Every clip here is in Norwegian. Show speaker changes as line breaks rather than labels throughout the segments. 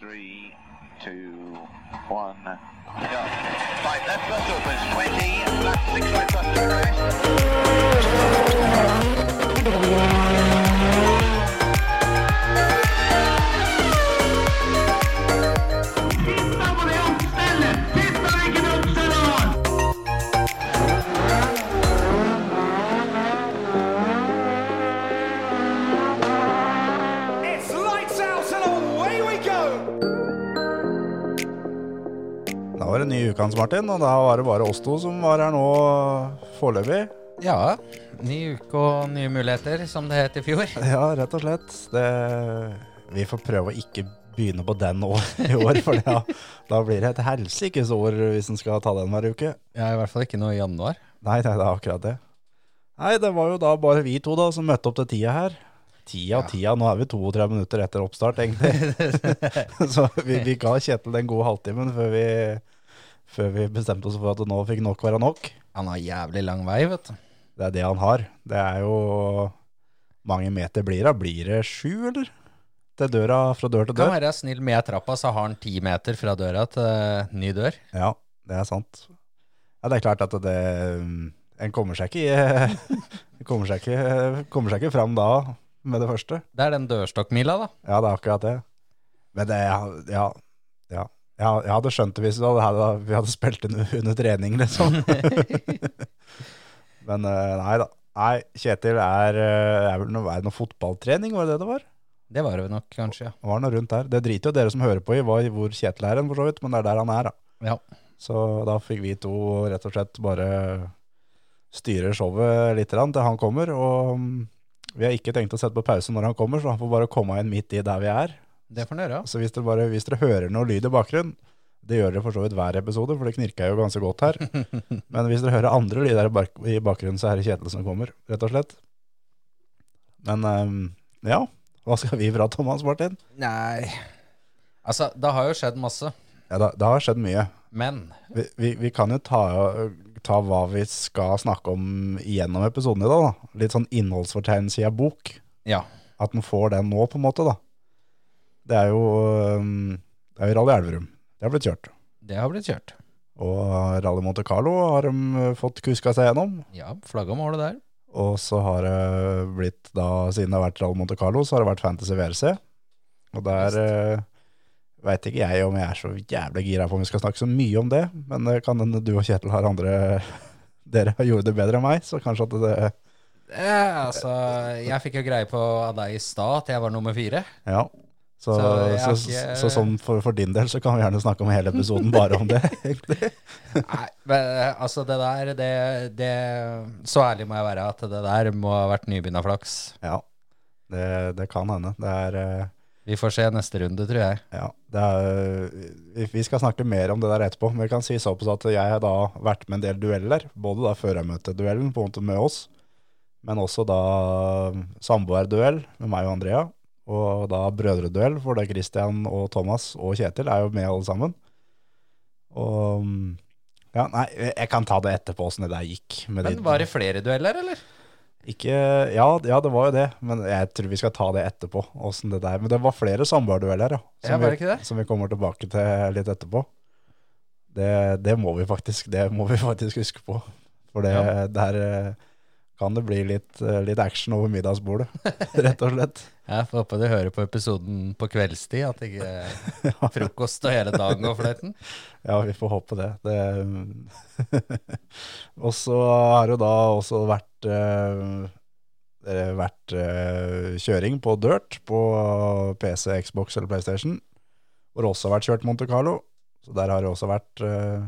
Three, two, one, go. Right, left bus opens 20, left six right bus turn right.
It's lights out and away we go!
Da var det ny uke, Hans Martin, og da var det bare oss to som var her nå foreløpig.
Ja. Ny uke og nye muligheter, som det het i fjor.
Ja, rett og slett. Det, vi får prøve å ikke begynne på den nå i år, for da, da blir det et helsikes år hvis en skal ta den hver uke.
Ja, I hvert fall ikke noe i januar.
Nei, nei, det er akkurat det. Nei, det var jo da bare vi to da som møtte opp til tida her. Tida og tida, nå er vi 32 minutter etter oppstart, egentlig. Så vi, vi ga Kjetil den gode halvtimen før vi, før vi bestemte oss for at nå fikk nok være nok.
Han har jævlig lang vei, vet du.
Det er det han har. Det er jo mange meter blir det. Blir det sju, eller? Til døra, fra dør til
Kan
dør?
være snill med trappa, så har han ti meter fra døra til eh, ny dør.
Ja, det er sant. Ja, det er klart at det En kommer seg ikke kommer seg ikke, kommer seg ikke fram da med det første.
Det er den dørstokkmila, da.
Ja, det er akkurat det. Men det Ja. ja. Ja, jeg hadde skjønt det hvis vi hadde, vi hadde spilt den under trening, liksom. Men eh, nei da. Nei, Kjetil er, eh, er vel noe, er det noe fotballtrening, var det det det var?
Det var det nok, kanskje. ja.
Det var noe rundt der. Det driter jo dere som hører på i hva, hvor Kjetil er hen, for så vidt, men det er der han er, da.
Ja.
Så da fikk vi to rett og slett bare styre showet litt til han kommer, og mm, vi har ikke tenkt å sette på pause når han kommer, så han får bare komme inn midt i der vi er.
Det får han gjøre.
Så hvis dere, bare, hvis dere hører noe lyd i bakgrunnen, det gjør dere for så vidt hver episode, for det knirker jo ganske godt her. Men hvis dere hører andre lyder i bak- i bakgrunnen, så er det Kjetil som kommer, rett og slett. Men eh, ja, hva skal vi prate om, Hans Martin?
Nei Altså, det har jo skjedd masse.
Ja, det, det har skjedd mye.
Men
Vi, vi, vi kan jo ta, ta hva vi skal snakke om gjennom episoden i dag. Da. Litt sånn innholdsfortegnelse i en bok.
ja.
At den får den nå, på en måte. da. Det er jo, øhm, det er jo Rally Elverum. Det har blitt kjørt.
Det har blitt kjørt.
Og Rally Monte Carlo har de øh, fått kuska seg gjennom.
Ja, flagga målet der.
Og så har det blitt, da, siden det har vært Rally Monte Carlo, så har det vært Fantasy VRC. Og der øh, veit ikke jeg om jeg er så jævlig gira på om vi skal snakke så mye om det, men det kan hende du og Kjetil har andre Dere gjorde det bedre enn meg, så kanskje at det
Eh, altså, jeg fikk jo greie på av deg i stad at jeg var nummer fire.
Ja. Så, så,
Så jeg
så,
har
så,
ikke-
sånn for, for din del så kan vi gjerne snakke om hele episoden bare om det, egentlig.
Nei, men eh, altså det der, det, det Så ærlig må jeg være at det der må ha vært nybegynnerflaks.
Ja. Det, det kan hende. Det er eh,
Vi får se neste runde, tror jeg.
Ja, det er, vi- vi skal snakke mer om det der etterpå, men vi kan si såpass at jeg har da vært med en del dueller, både da førermøteduellen på en måte med oss, men også da samboerduell med meg og Andrea, og da brødreduell, for da Christian og Thomas og Kjetil er jo med alle sammen. Og ja, nei, jeg kan ta det etterpå hvordan det der gikk. Med
Men
de-
var det flere dueller, eller?
ikke, ja, ja, det var jo det, men jeg tror vi skal ta det etterpå. Hvordan det der. Men det var flere samboerdueller, ja.
Ja,
som
var
vi-
det ikke det?
Som vi kommer tilbake til litt etterpå. Det, det, må, vi faktisk, det må vi faktisk huske på. For det,
Ja.
der eh, kan det bli litt, eh, litt action over middagsbordet, rett og slett.
Jeg får håpe du hører på episoden på kveldstid, at ikke frokost og hele dagen går fløyten.
Ja, vi får håpe det. det og så har det da også vært, eh, eh, vært eh, kjøring på dirt på PC, Xbox eller PlayStation, hvor det også har vært kjørt Monte Carlo. Så der har det også vært, eh,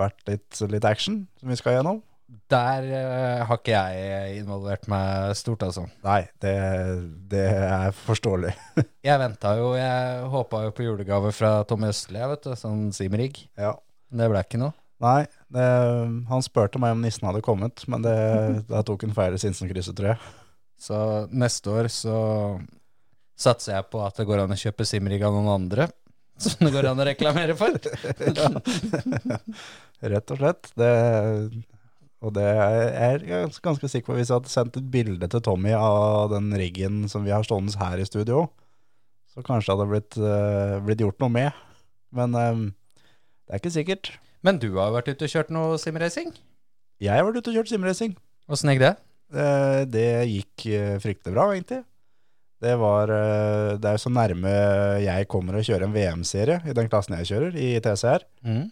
vært litt, litt action som vi skal gjennom.
Der eh, har ikke jeg involvert meg stort, altså.
Nei, det, det er forståelig.
Jeg venta jo, jeg håpa jo på julegave fra Tom Østli, jeg, vet du, sånn Simrig.
Ja.
Det ble ikke noe.
Nei, det, han spurte meg om nissen hadde kommet, men det, da tok han feil i Sinsenkrysset, tror jeg.
Så neste år så satser jeg på at det går an å kjøpe Simrig av noen andre. Som det går an å reklamere for.
Rett og slett. Det, og det er jeg ganske, ganske sikker på. Hvis jeg hadde sendt et bilde til Tommy av den riggen som vi har stående her i studio, Så kanskje hadde det blitt, eh, blitt gjort noe med. Men eh, det er ikke sikkert.
Men du har jo vært ute og kjørt noe simracing.
Jeg har vært ute og kjørt simracing.
Åssen gikk det?
Eh, det gikk eh, fryktelig bra, egentlig. Det, var, eh, det er jo så nærme jeg kommer å kjøre en VM-serie i den klassen jeg kjører, i TCR.
Mm.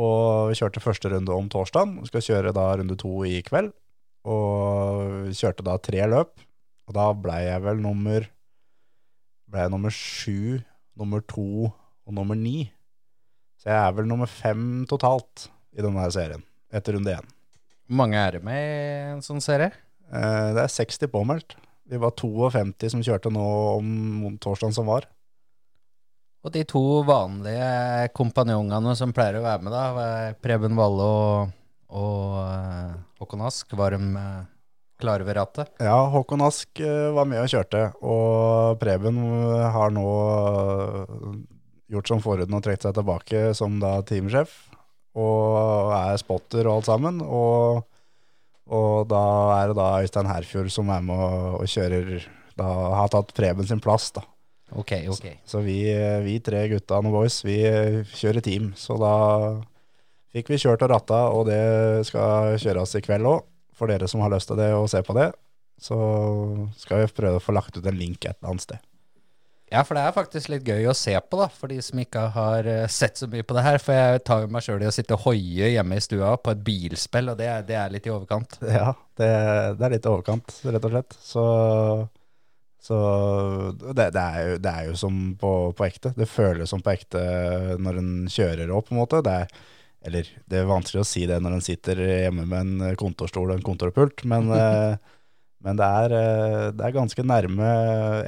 Og vi kjørte første runde om torsdagen. Skal kjøre da runde to i kveld. Og kjørte da tre løp. Og da blei jeg vel nummer Blei jeg nummer sju, nummer to og nummer ni. Så jeg er vel nummer fem totalt i denne her serien, etter runde én.
Hvor mange er det med i en sånn serie?
Eh, Det er 60 påmeldt. Vi var 52 som kjørte nå om torsdagen som var.
Og de to vanlige kompanjongene som pleier å være med, da, var Preben Valle og, og eh, Håkon Ask, var de eh, klare ved rattet?
Ja, Håkon Ask eh, var med og kjørte, og Preben eh, har nå eh, gjort som forhuden og trukket seg tilbake som da teamsjef, og er spotter og alt sammen, og, og da er det da Øystein Herfjord som er med og, og kjører, da har tatt Preben sin plass da.
Ok, ok.
Så vi, eh, vi tre gutta og boys, vi eh, kjører team, så da fikk vi kjørt og ratta, og det skal kjøres i kveld også, for dere som har lyst til det og se på det, så skal vi prøve å få lagt ut en link et eller annet sted.
Ja, for det er faktisk litt gøy å se på, da, for de som ikke har eh, sett så mye på det her. For jeg tar jo meg sjøl i å sitte og hoie hjemme i stua på et bilspill, og det, er- det er litt i overkant.
Ja, det, det er litt i overkant, rett og slett. Så, så det, det, er jo, det er jo som på, på ekte. Det føles som på ekte når en kjører opp, på en måte. Det er, eller det er vanskelig å si det når en sitter hjemme med en kontorstol og en kontorpult, men, eh, men det, er, eh, det er ganske nærme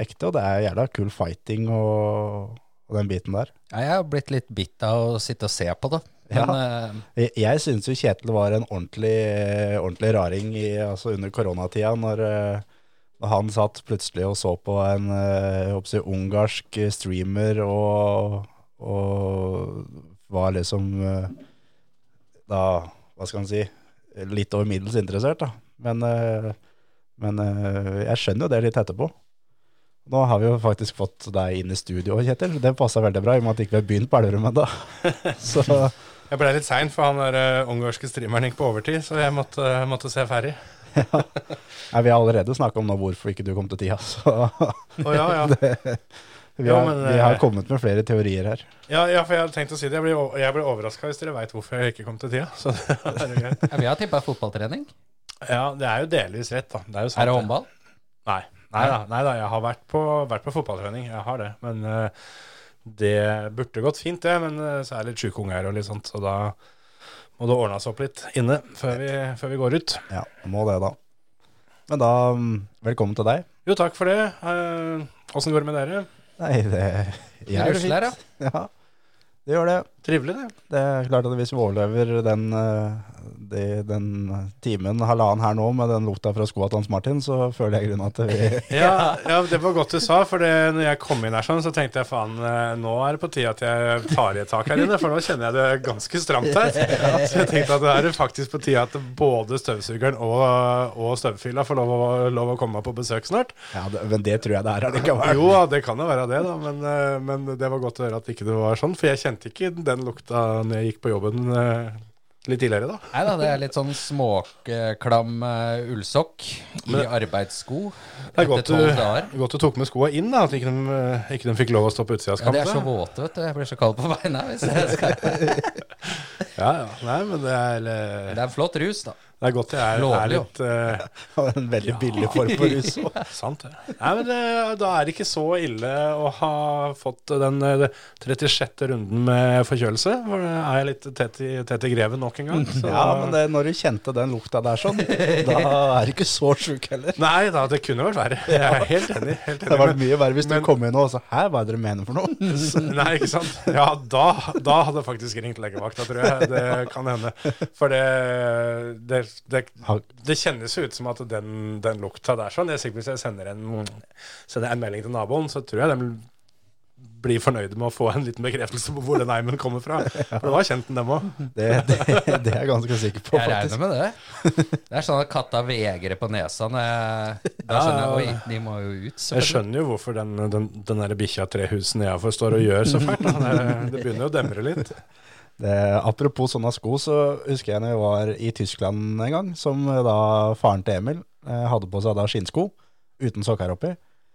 ekte, og det er jævla kul fighting og, og den biten der.
Ja, jeg har blitt litt bitt av å sitte og se på det. Men eh,
Jeg, jeg syns jo Kjetil var en ordentlig, eh, ordentlig raring i, altså under koronatida, når, eh, når han satt plutselig og så på en eh, jeg håper å si, ungarsk streamer og, og var liksom eh, da, hva skal man si, litt over middels interessert, da. Men, eh, men eh, jeg skjønner jo det litt etterpå. Nå har vi jo faktisk fått deg inn i studio, Kjetil. Det passa veldig bra, i og med at vi ikke har begynt på Elverum ennå. Så
Jeg ble litt sein, for han der eh, ungarske streameren gikk på overtid, så jeg måtte, eh, måtte se ferdig.
Nei, vi har allerede snakka om nå hvorfor ikke du kom til tida, så
Å ja, ja.
vi
Jo,
har,
men,
vi har
eh,
kommet med flere teorier her.
ja, ja, for jeg hadde tenkt å si det. Jeg blir, o- jeg blir overraska hvis dere veit hvorfor jeg ikke kom til tida. Så det er jo greit.
ja, vi har tippa fotballtrening.
Ja, det er jo delvis rett, da. Det er jo sant.
Er det
det.
håndball?
Nei. Nei da, nei da, jeg har vært på, vært på fotballtrening, jeg har det. Men eh, det burde gått fint, det. Men eh, så er det litt sjuke unger og litt sånt, så da må det ordnes opp litt inne før vi, før vi går ut.
Ja, må det, da. Men da, mm, velkommen til deg.
Jo, takk for det. Eh, Åssen går det med dere?
Nei, det jeg
Det rusler, ja.
Ja, det gjør det.
Trivelig, det.
Det er klart at hvis vi overlever den, eh, de, den timen, halvannen her nå, med den lukta fra skoa til Hans Martin, så føler jeg i grunnen at vi
Ja, ja, det var godt du sa, for det, når jeg kom inn her sånn, så tenkte jeg faen, eh, nå er det på tide at jeg tar i et tak her inne, for nå kjenner jeg det ganske stramt her. Så jeg tenkte at da er det faktisk på tide at både støvsugeren og, og støvfila får lov å, lov å komme på besøk snart.
Ja, det, men det tror jeg det er allikevel.
Jo, ja, det kan jo være det, da, men, eh, men det var godt å høre at ikke det var sånn, for jeg kjente ikke den lukta når jeg gikk på jobben eh, litt tidligere, da.
Nei da, det er litt sånn småklam eh, ullsokk i arbeidssko
Det
etter
er godt
tolv dager.
du, godt du tok med skoa inn, da, at ikke de, eh, ikke de fikk lov å stå på utsida
Ja,
av
de
skapet.
er så våte, vet du. Jeg blir så kald på beina. Hvis jeg skal.
Ja, ja. Nei, men det er eh,
Det er en flott rus, da.
Det er godt jeg er,
Lovlig,
er litt eh,
En veldig billig form for rus.
Sant, det. Nei, men det, da er det ikke så ille å ha fått den eh, 36. runden med forkjølelse. For da er jeg litt tett i, tett i greven nok en gang. Så.
Ja, men det, når du kjente den lukta der sånn, da er du ikke så sjuk heller.
Nei da, det kunne vært verre. Jeg er helt enig. Helt
Det
enig.
var mye verre hvis
men-
du kom inn og sa Hæ, hva er det dere mener for noe?
Men- Nei, ikke sant. Ja, da, da hadde jeg faktisk ringt legevakta, tror jeg. Det kan hende. For det, det, det,
Har-
det kjennes jo ut som at den, den lukta der sånn. Jeg er sikker på hvis jeg sender en, sender en melding til naboen, så tror jeg de blir fornøyde med å få en liten bekreftelse på hvor den eimen kommer fra. For det var kjent den, dem òg.
Det, det, det er jeg ganske sikker på,
Jeg regner
faktisk.
med det. Det er sånn at katta vegrer på nesa. når jeg- Da skjønner jeg, Oi, de må jo ut.
Jeg
selvfølgelig.
skjønner jo hvorfor den, den, den der bikkja tre husene jeg for står og gjør så fælt. da. Det, det begynner jo å demre litt.
Det, apropos sånne sko, så husker jeg når jeg var i Tyskland en gang, som eh, da faren til Emil eh, hadde på seg da skinnsko uten sokker oppi.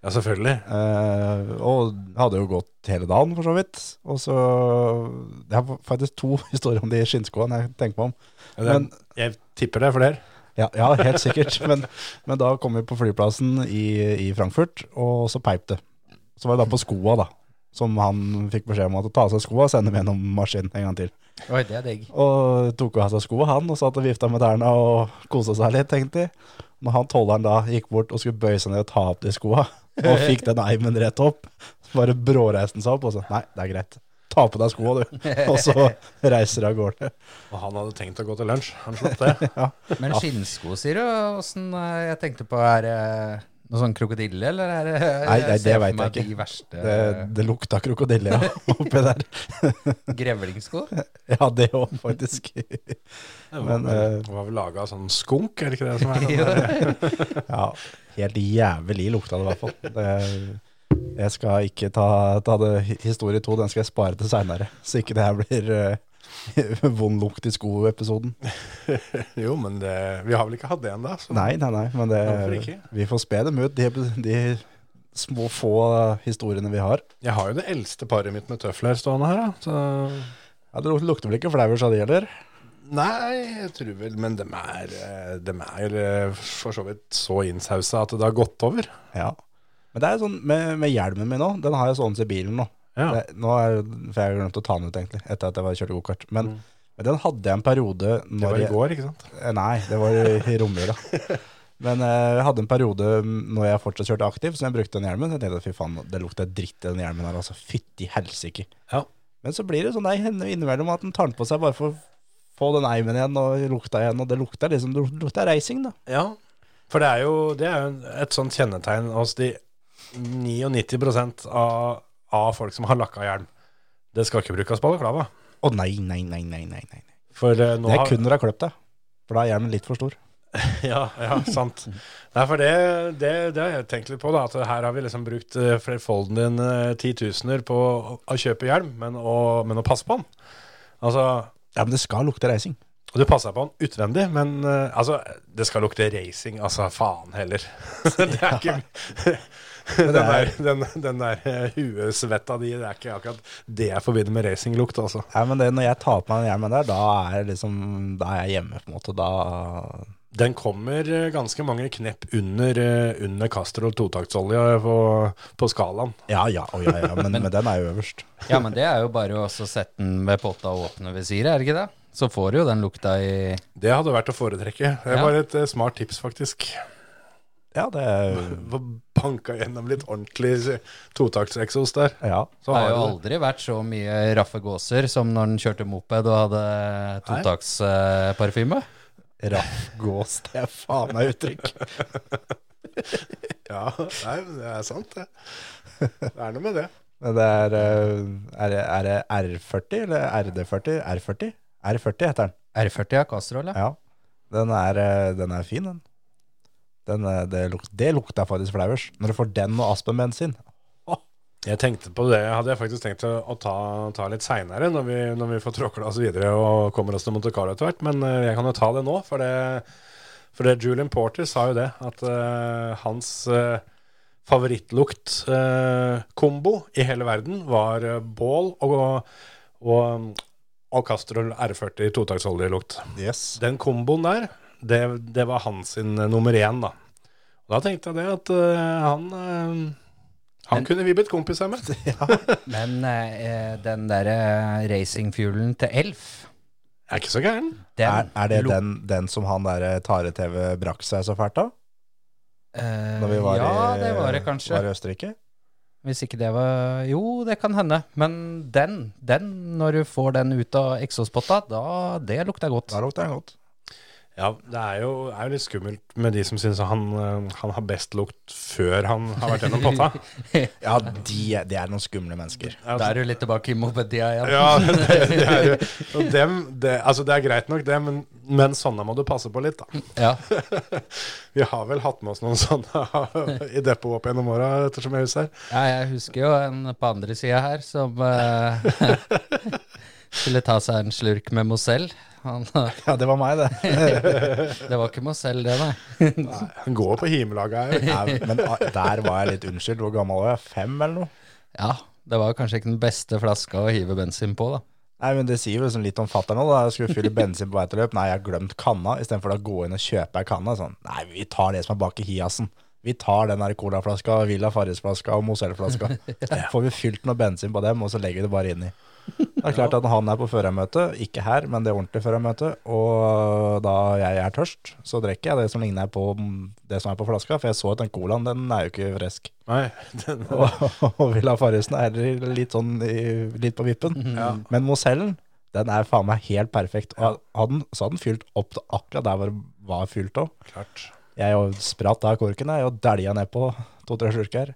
Ja, selvfølgelig.
Eh, og hadde jo gått hele dagen, for så vidt. Og så Det er faktisk to historier om de skinnskoene jeg tenker meg om.
Ja, det-
Men-
jeg tipper det er flere.
Ja, ja helt sikkert. Men, men da kom vi på flyplassen i, i Frankfurt, og så peip det. Så var det da på skoa, da. Som han fikk beskjed om at å ta av seg skoa og sende dem gjennom maskinen en gang til.
Oi, det er digg.
Og tok av seg skoa, han, og satt og vifta med tærne og kosa seg litt, tenkte de. Når han tolleren da gikk bort og skulle bøye seg ned og ta opp de skoa, og fikk den eimen rett opp, så bare bråreiste han seg opp og sa nei, det er greit. Ta på deg skoa, du. Og så reiser de av gårde.
Og han hadde tenkt å gå til lunsj. Han slapp det.
Men skinnsko, sier du? Åssen Jeg tenkte på Er det noe sånn krokodille, eller er det
Nei, nei,
jeg ser
det
for
vet
meg
jeg ikke.
De verste
Det, det lukta krokodille ja, oppi der.
grevlingsko?
Ja, det òg, faktisk.
Det var,
Men, eh,
det var vel laga av sånn skunk, er det ikke det som er? sånn?
Jo.
Ja, helt jævlig lukta det i hvert fall. Det, jeg skal ikke ta, ta det historie to, den skal jeg spare til seinere. Så ikke det her blir eh, vond lukt i sko-episoden.
Jo, men det, vi har vel ikke hatt det ennå.
Nei, nei, nei, men
Hvorfor
det,
ikke?
vi får spe dem ut, de, de små få historiene vi har.
Jeg har jo det eldste paret mitt med tøfler stående her. Da. Så,
Ja, det luk- lukter vel ikke flauer, sa de heller?
nei, jeg tror vel Men dem er, eh, dem er eh, for så vidt så innsausa at det har gått over.
Ja. Men det er sånn med, med hjelmen min nå, den har jeg sånn i bilen nå.
Ja.
Det, nå er, for jeg har glemt å ta den ut, egentlig, etter at jeg var kjørte gokart. Men, men den hadde jeg en periode
Mm. Det
når
var i
jeg
går, ikke sant?
Eh, Nei, det var i- i romjula. Men eh, jeg hadde en periode mm, når jeg fortsatt kjørte aktiv, så jeg brukte den hjelmen. Så jeg tenkte fy faen, det lukter dritt i den hjelmen her, altså. Fytti helsike.
Ja.
Men så blir det sånn nei, henne innimellom at den tar den på seg bare for å få den eimen igjen og lukta igjen, og det lukter liksom det lukter racing, da.
Ja. For det er jo, det er jo et sånt kjennetegn hos de 99 av, av folk som har lakka hjelm. Det skal ikke brukes balaklava.
Å nei, nei, nei, nei, nei. nei.
For eh, nå
Det er
har-
kun når du har kløpt deg, for da er hjelmen litt for stor.
Ja, ja sant. Nei, for det, det, det har jeg tenkt litt på, da. At her har vi liksom brukt eh, flerfolden din eh, titusener på å, å kjøpe hjelm, men å, men å passe på den. Altså,
Ja, men det skal lukte racing.
og du passer på den utvendig, men eh, altså, det skal lukte racing, altså faen heller. det er ikke den der, den, den der eh, huesvetta di, det er ikke akkurat det jeg forbinder med racinglukt, altså.
Ja, men det, når jeg tar på meg den hjelmen der, da er, jeg liksom, da er jeg hjemme, på en måte. Da
Den kommer eh, ganske mange knepp under, eh, under Castrol totaktsolje på, på skalaen.
Ja, ja, å, ja, ja men, men den er jo øverst.
Ja, men det er jo bare å også sette den med potta og åpne visiret, er det ikke det? Så får du jo den lukta i
Det hadde vært å foretrekke. Det
Ja.
var et eh, smart tips, faktisk.
Ja, det er,
Få Banka gjennom litt ordentlig totaktseksos der.
ja.
Så
Det
har
har jo
du det.
aldri vært så mye raffe gåser som når den kjørte moped og hadde totaksparfyme.
Raff gås, det er faen meg uttrykk.
Ja, nei, men det er sant, det. Det er noe med det.
Men det er, eh, er, det- er det R40 eller RD40? R40? R40 heter den.
R40 av Castrol, ja.
Ja. Den er, eh, den er fin, den. den er, det, luk, det lukter faktisk flauers. Når du får den og aspenbensin.
Jeg tenkte på det, hadde jeg faktisk tenkt å å ta, ta litt seinere, når, vi- når vi får tråkla oss videre og kommer oss til Monte Carlo etter hvert. Men eh, jeg kan jo ta det nå, for det, for det Julian Porter sa jo det, at eh, hans uh, favorittlukt-kombo i hele verden var eh, bål og, og, og Castrol R40 totaktsoljelukt.
Yes.
Den komboen der, det, det var hans sin eh, nummer én, da. Og da tenkte jeg det at eh, han eh, han
Men-
kunne vi blitt kompiser med.
Men eh, den derre racingfuelen til Elf,
er ikke så gæren.
den
Er, er det
luk-
den, den som han der eh, Tare-TV brakk seg så fælt av?
eh,
Når vi var
Ja,
i,
det var det kanskje.
Var i Østerrike?
Hvis ikke det var Jo, det kan hende. Men den, den, når du får den ut av eksospotta, da Det lukter godt.
Da lukter den godt.
Ja, det er jo, er jo litt skummelt med de som syns han, eh, han har best lukt før han har vært gjennom potta.
Ja, de, de er noen skumle mennesker.
Da er du litt tilbake i mopedia igjen.
Altså, Ja, det, det er jo og dem, det, altså det er greit nok, det, men, men sånne må du passe på litt, da.
Ja.
Vi har vel hatt med oss noen sånne i depotet opp gjennom åra, ettersom jeg husker.
Ja, jeg husker jo en på andre sida her som eh, skulle ta seg en slurk med Mozell. Han, det
Ja, det var meg, det.
var ikke Mozell, det, nei.
Han går på himelaga her.
Nei, men ah, der var jeg litt unnskyldt. Hvor gammel var jeg? Fem, eller noe?
Ja, det var kanskje ikke den beste flaska å hive bensin på, da.
Nei, men Det sier jo liksom litt om fatter'n òg. Jeg skulle fylle bensin på vei til løp. Nei, jeg har glemt kanna. Istedenfor å gå inn og kjøpe ei kanne. Sånn. Nei, vi tar det som er bak i hiasen. Vi tar den der colaflaska, Villa Farris-flaska og Mozell-flaska. Så får vi fylt noe bensin på dem, og så legger vi det bare inni. Det er klart at han er på førermøte, ikke her, men det ordentlige førermøtet, og da jeg er tørst, så drikker jeg det som ligner på det som er på flaska, for jeg så at den colaen, den er jo ikke frisk.
Nei, den,
og, og Villa Farrisen er litt sånn i- litt på vippen. Men Mosellen, den er faen meg helt perfekt. Og hadde, den- så hadde den fylt opp til akkurat der hvor den var fylt òg.
klart.
Jeg jo spratt av korken jeg, og dælja nedpå to-tre slurker.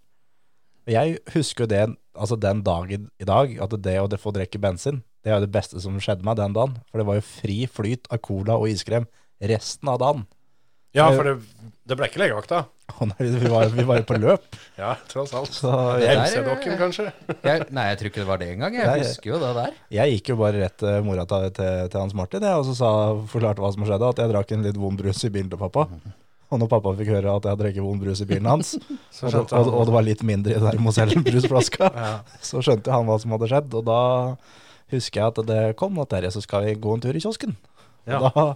Jeg husker jo det, altså den dagen i dag, at det å få drikke bensin, det er jo det beste som skjedde meg den dagen. For det var jo fri flyt av cola og iskrem resten av dagen.
Ja, for det, det ble ikke legevakta.
Og når vi var vi var jo på løp.
Ja, tross alt.
Så jeg,
MC-dokken, kanskje.
Jeg, nei, jeg tror ikke det var det engang. Jeg
Nei.
husker jo det der.
Jeg gikk jo bare rett til mora til, til, til Hans Martin jeg, og så sa, forklarte hva som skjedde, at jeg drakk en litt vond brus i bilen til pappa. Og når pappa fikk høre at jeg drakk vond brus i bilen hans, og, det,
skjønte
og,
han.
og det var litt mindre i den der Mozell-brusflaska, så skjønte han hva som hadde skjedd. Og da husker jeg at det kom at dere så skal vi gå en tur i kiosken.
Ja.
Og da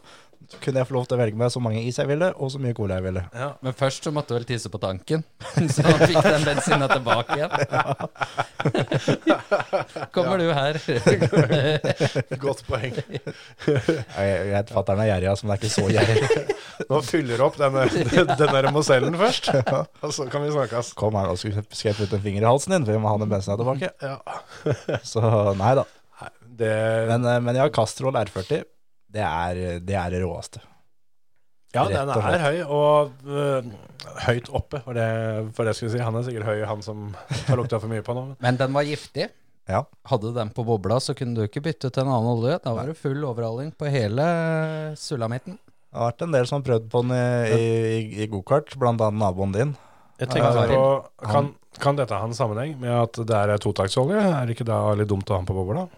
kunne jeg få lov til å velge meg så mange is jeg ville, og så mye cola jeg ville.
Men først så måtte du vel tisse på tanken, så han fikk den bensina tilbake igjen. Kommer du her?
Godt poeng.
Jeg, jeg vet fatter'n er gjerrig, altså, men det er ikke så gjerrig.
Nå fyller du opp denne, den der Mosellen først, og så kan vi snakkes.
Kom her, nå skal jeg- skal jeg putte en finger i halsen din, for vi må ha den bensinen tilbake.
Ja.
Så nei da.
Det,
Men, eh, men ja, Castrol R40, det er det, er det råeste.
ja,
rett
den
og
er høy, og øh, høyt oppe, for det, for det skulle jeg si. Han er sikkert høy, han som har lukta for mye på nå.
Men den var giftig.
Ja.
Hadde du den på bobla, så kunne du ikke bytte til en annen olje. Da var det full overhaling på hele sulamitten.
Det har vært en del som har prøvd på den i, i, i gokart, blant annet naboen din.
Jeg sånn
Ja, ja,
tenkte på, kan, kan dette ha en sammenheng med at det er totaktsolje? Er det ikke da litt dumt å ha den på bobla?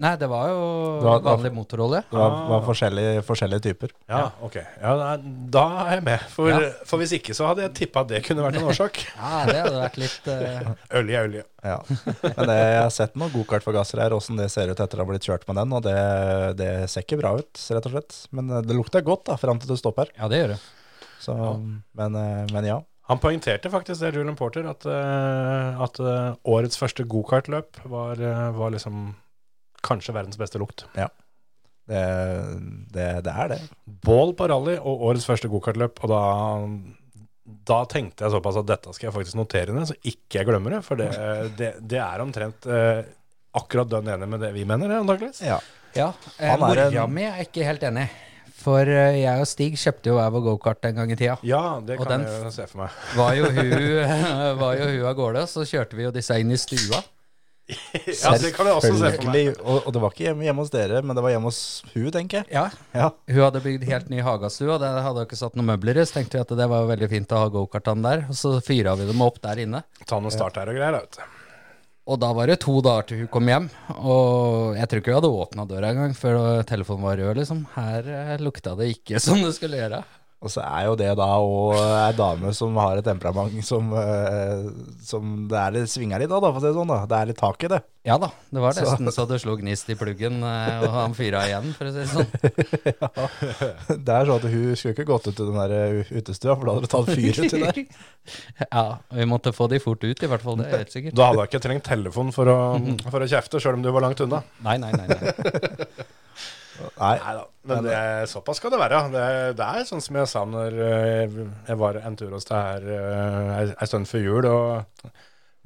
Nei, det var jo
Det var-
vanlig motorolje.
Det var,
Ah.
var forskjellige, forskjellige typer.
Ja, ok. Ja, nei, da er jeg med, for,
Ja.
for hvis ikke så hadde jeg tippa at det kunne vært en årsak.
Ja, det hadde vært litt eh,
Ølje, ølje.
Ja. Men det, jeg har sett noen gokartforgassere her, åssen det ser ut etter å ha blitt kjørt med den, og det, det ser ikke bra ut, rett og slett. Men eh, det lukta godt da, fram til du stopper.
Ja, det gjør det.
Så, men, eh, men ja.
Han poengterte faktisk det, Julian Porter, at, eh, at eh, årets første gokartløp var, eh, var liksom kanskje verdens beste lukt.
Det, det, det er det.
Bål på rally og årets første gokartløp, og da, da tenkte jeg såpass at dette skal jeg faktisk notere ned, så ikke jeg glemmer det, for det, det, det er omtrent eh, akkurat dønn enig med det vi mener, antakeligvis.
Ja.
Ja, eh,
Han er en-
Mora mi er ikke helt enig. For eh, jeg og Stig kjøpte jo hver vår gokart en gang i tida.
Ja, det
Og
kan
den
jeg jo se for meg.
Var jo hun, var jo hun av gårde, så kjørte vi jo disse inn i stua.
Ja, det kan jeg også se for meg.
Selvfølgelig. Og, og det var ikke hjemme, hjemme hos dere, men det var hjemme hos hun, tenker jeg.
Ja,
Ja.
Hun hadde bygd helt ny hagestue, og det hadde jo ikke satt noen møbler i, så tenkte vi at det var jo veldig fint å ha gokartene der. Og så fyra vi dem opp der inne.
Ta noen start her og greier, da, vet du.
Og da var det to dager til hun kom hjem, og jeg tror ikke hun hadde åpna døra engang før telefonen var rød, liksom. Her eh, lukta det ikke som det skulle gjøre.
Og så er jo det da òg ei dame som har et temperament som, eh, som det er litt svinger litt av, da, for å si det sånn. da. Det er litt tak i det.
Ja da, det var nesten så det slo gnist i pluggen, eh, og han fyra igjen, for å si det sånn.
Det er sånn at Hun skulle ikke gått ut til den der eh, utestua, for da hadde det tatt fyr uti der.
Ja, vi måtte få de fort ut, i hvert fall. Det er helt sikkert.
Da hadde jeg ikke trengt telefon for å, for å kjefte, sjøl om du var langt unna.
Nei, nei, nei. nei.
Nei,
Nei da, men det, såpass skal det være. Det, det er sånn som jeg sa når eh, jeg var en tur hos deg her eh, ei- ei stund før jul, og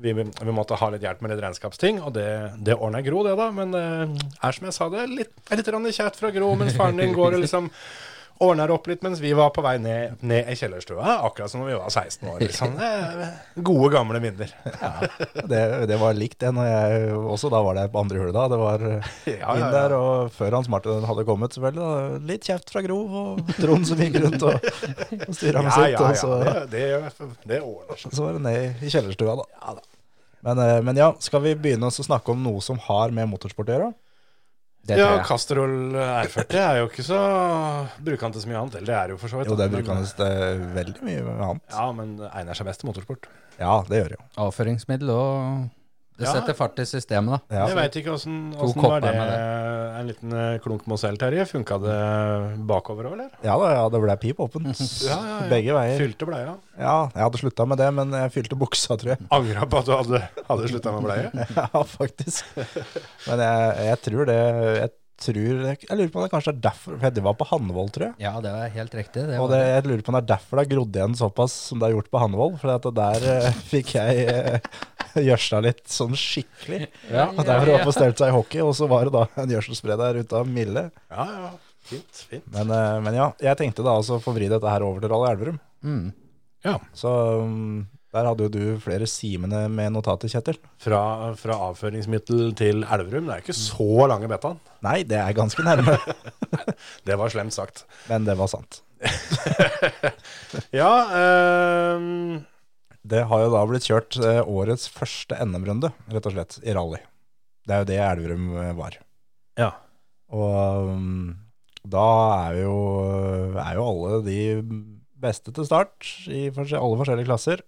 vi, vi måtte ha litt hjelp med litt regnskapsting, og det, det eh, ordna Gro, det da. Men det er som jeg sa, det er litt, er litt rann kjært fra Gro, mens faren din går og liksom Ordna det opp litt mens vi var på vei ned, ned i kjellerstua, akkurat som når vi var 16 år. Liksom. Det er Gode, gamle minner.
Det, det var likt det når jeg også da var det på andre hullet da. Det var eh,
ja,
inn
ja.
der, og før Hans Martin hadde kommet selvfølgelig, da, litt kjeft fra Grov og Trond som gikk rundt og, og styra med sitt, og så,
Det, det, det ordner seg.
så var det ned i kjellerstua da. Men, eh, men ja, skal vi begynne oss å snakke om noe som har med motorsport å gjøre?
Det
Ja,
tror jeg.
Castrol eh, R40 er jo ikke så Bruker han til så mye annet? Eller det er jo for så vidt.
Jo, det
men- eh,
bruker han eh, veldig mye annet.
Ja, men det egner seg best til motorsport.
Ja, det gjør det jo.
Avføringsmiddel og Det
Ja.
setter fart i systemet, da.
Ja.
jeg veit ikke åssen
To kopper
var det,
med
En liten eh, klunk Mozell, Terje. Funka det bakover òg, eller?
Ja da, ja, det ble pip åpen.
ja, ja.
Begge veier.
Fylte bleia.
Ja, jeg hadde slutta med det, men jeg fylte buksa, tror jeg.
Angra på at du hadde, hadde slutta med bleie.
Ja, faktisk. Men jeg, jeg tror det Jeg tror Jeg lurer på om det kanskje er derfor For det var på Hannevold, tror jeg.
Ja, det er helt riktig. Det
Og
var
det,
det.
jeg lurer på om det er derfor det har grodd igjen såpass som det har gjort på Hannevold. For at der eh, fikk jeg eh, gjørsla litt sånn skikkelig.
Ja,
Og derfor var det på stelt seg i hockey, og så var det da en gjødselspreder ute av Mille.
ja, ja. Fint. fint.
Men, eh, men ja, jeg tenkte da altså å få vri dette her over til Rally Elverum.
Mm.
Ja.
Så um, der hadde jo du flere simene med notater, Kjetil.
Fra, fra avføringsmiddel til Elverum. Det er ikke så lange betaen.
Nei, det er ganske nærme,
Det var slemt sagt.
men det var sant.
Ja, ehm,
Det har jo da blitt kjørt eh, årets første NM-runde, rett og slett, i rally. Det er jo det Elverum eh, var.
Ja.
Og um, da er jo, eh, er jo alle de beste til start i forskjell- alle forskjellige klasser.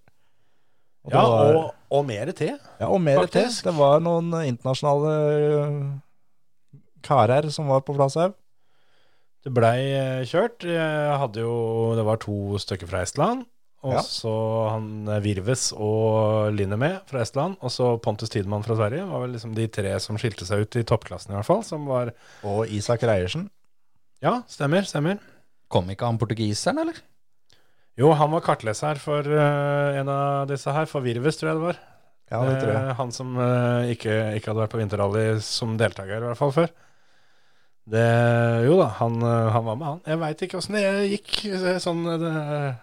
Og det
ja
var-
og, og mer til.
Ja, og mer til.
Faktisk.
Det var noen internasjonale eh, karer som var på plass her.
Det blei eh, kjørt. Jeg hadde jo, det var to stykker fra Estland. Og
Ja.
så han eh, Virves og Linneme fra Estland. Og så Pontus Tidemann fra Sverige. var vel liksom de tre som skilte seg ut i toppklassen, i hvert fall. Som var
Og Isak Reiersen.
Ja, stemmer, stemmer.
Kom ikke han portugiseren, eller?
Jo, han var kartleser for eh, en av disse her. For Virves, tror jeg det var.
Ja, det tror jeg.
Eh, han som eh, ikke, ikke hadde vært på vinterrally som deltaker, i hvert fall før. Det, jo da, han, eh, han var med, han. Jeg veit ikke åssen det gikk eh, sånn eh, det,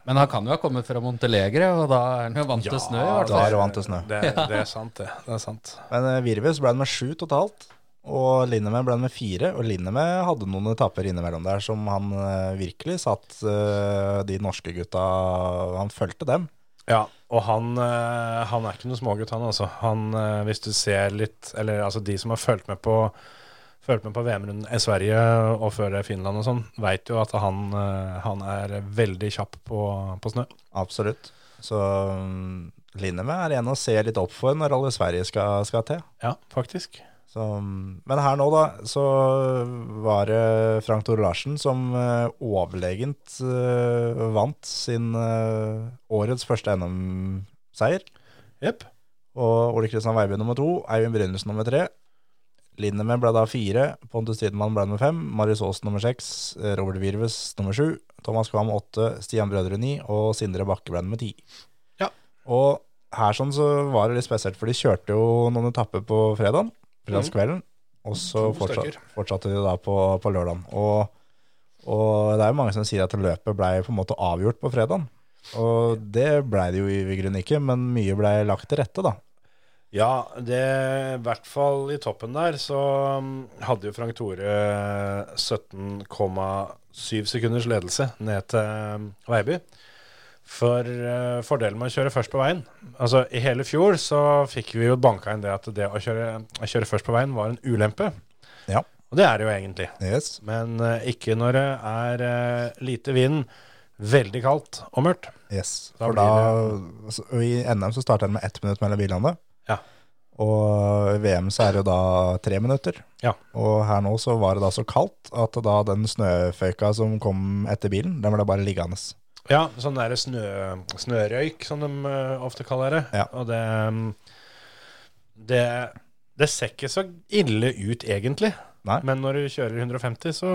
Men han kan jo ha kommet fra Montelegre, og da er han jo vant til snø, i hvert
da
fall.
er det vant til snø.
Det, det er sant, det. Det er sant.
Men eh, Virves ble han med sju totalt. Og Linneme ble han med fire. Og Linneme hadde noen etapper innimellom der som han eh, virkelig satt eh, de norske gutta Han fulgte dem.
Ja, og han, eh, han er ikke noe smågutt, han altså. Han, eh, hvis du ser litt Eller altså de som har fulgt med på Følt med på VM-runden i Sverige og før det Finland og sånn, veit jo at han, eh, han er veldig kjapp på, på snø.
Absolutt. Så um, Linneme er en å se litt opp for når alle Sverige skal, skal til.
Ja, faktisk.
Så, men her nå, da, så var det Frank Tore Larsen som eh, overlegent eh, vant sin eh, årets første NM-seier.
Jepp.
Og Ole Kristian Weiby nummer to, Eivind Brynildsen nummer tre. Lindemann ble da fire, Pontus Tidemann ble nummer fem, Marius Aas nummer seks, eh, Robert Virves nummer sju, Thomas Kvam åtte, Stian Brødre ni og Sindre Bakke ble nummer ti.
Ja.
Og her sånn så var det litt spesielt, for de kjørte jo noen etapper på fredagen, fredagskvelden, og så
Mm. To
fortsatte,
stykker.
fortsatte de da på, på lørdagen. Og, og det er jo mange som sier at løpet ble på en måte avgjort på fredagen, og det ble det jo i, i grunnen ikke, men mye ble lagt til rette da.
Ja, det, i hvert fall i toppen der, så mm, hadde jo Frank Tore 17,7 sekunders ledelse ned til mm, Veiby. For eh, fordelen med å kjøre først på veien Altså, i hele fjor så fikk vi jo banka inn det at det å kjøre, å kjøre først på veien var en ulempe.
Ja.
Og det er det jo egentlig.
Yes.
Men eh, ikke når det er eh, lite vind, veldig kaldt og mørkt.
Yes.
Da
For da, så- og I NM så starter den med ett minutt mellom bilene.
Ja.
Og i VM så er det jo da tre minutter.
Ja.
Og her nå så var det da så kaldt at da den snøføyka som kom etter bilen, den ble bare liggende.
Ja, sånn der snø, snørøyk, som de eh, ofte kaller det.
Ja.
Og det, mm, det Det ser ikke så ille ut, egentlig.
Nei.
Men når du kjører 150, så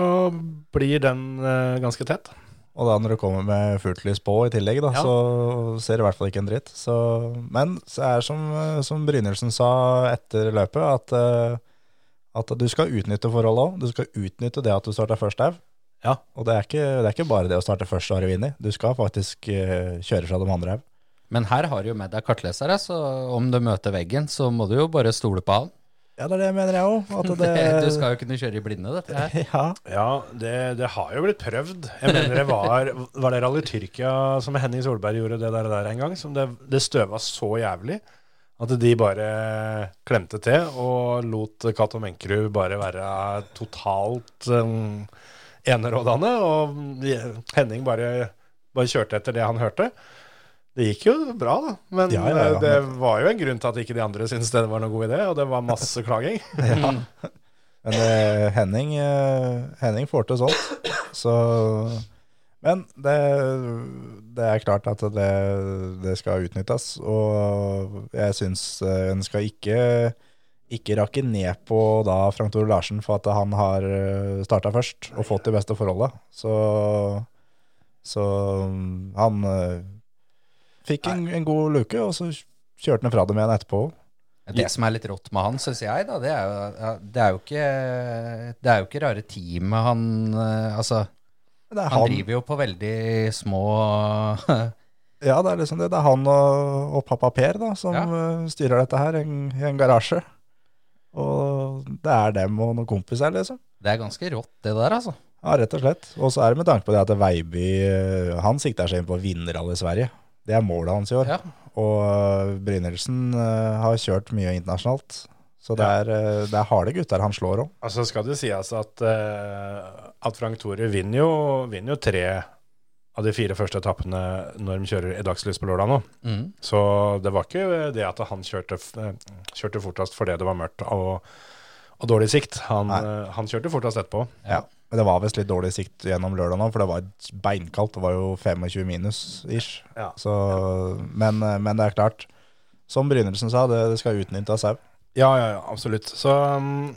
blir den eh, ganske tett.
Og da når du kommer med fullt lys på i tillegg, da,
Ja.
så ser du i hvert fall ikke en dritt. Så, men så er det som, som Brynildsen sa etter løpet, at, eh, at du skal utnytte forholdet òg. Du skal utnytte det at du starta først der,
Ja.
Og det er, ikke, det er ikke bare det å starte første året vinner. Du skal faktisk eh, kjøre fra de andre her.
Men her har du jo med deg kartlesere, så om du møter veggen, så må du jo bare stole på han.
Ja, det er det jeg mener jeg òg. At det,
Du skal jo kunne kjøre i blinde, dette her.
Ja.
Ja, det, det har jo blitt prøvd. Jeg mener det var, var det Rally Tyrkia som Henning Solberg gjorde det der, der en gang, som det, det støva så jævlig at de bare klemte til og lot Cato Menkerud bare være totalt um, enerådende. Og de- Henning bare, bare kjørte etter det han hørte. Det gikk jo bra, da. Men eh,
Ja, ja, ja.
det var jo en grunn til at ikke de andre syntes det var noen god idé, og det var masse klaging.
Men eh, Henning, eh, Henning får til sånt. Så Men det, det er klart at det, det skal utnyttes. Og jeg syns eh, en skal ikke, ikke rakke ned på da Frank Tore Larsen for at han har starta først og fått de beste forholda. Så, så mm, han eh, fikk en, en god luke, og så kjørte han fra dem igjen etterpå.
Det som er litt rått med han, syns jeg, da, det er jo, ja, det er jo ikke Det er jo ikke rare teamet han eh, Altså,
Men det er
han driver jo på veldig små
Ja, det er liksom det. Det er han og, og pappa Per da, som
Ja.
eh, styrer dette her i en, i en garasje. Og det er dem og noen kompiser, liksom.
Det er ganske rått, det der, altså.
Ja, rett og slett. Og så er det med tanke på det at Veiby eh, han sikter seg inn på å vinne rally i Sverige. Det er målet hans i år.
Ja.
Og eh, Brynildsen eh, har kjørt mye internasjonalt. Så det
Ja.
er, eh, det er harde gutter han slår om.
Altså skal det sies at, eh, at Frank Tore vinner jo, vinner jo tre av de fire første etappene når de kjører i dagslys på lørdag nå.
Mm.
Så det var ikke det at han kjørte, f- eh, kjørte fortest fordi det var mørkt og, og dårlig sikt. Han,
Nei.
eh, han kjørte fortest etterpå.
Ja. Men det var visst litt dårlig sikt gjennom lørdag nå, for det var beinkaldt. Det var jo 25 minus ish.
Ja.
Så, men, men det er klart, som Brynildsen sa, det, det skal utnyttes òg.
Ja, ja, ja, absolutt. Så um,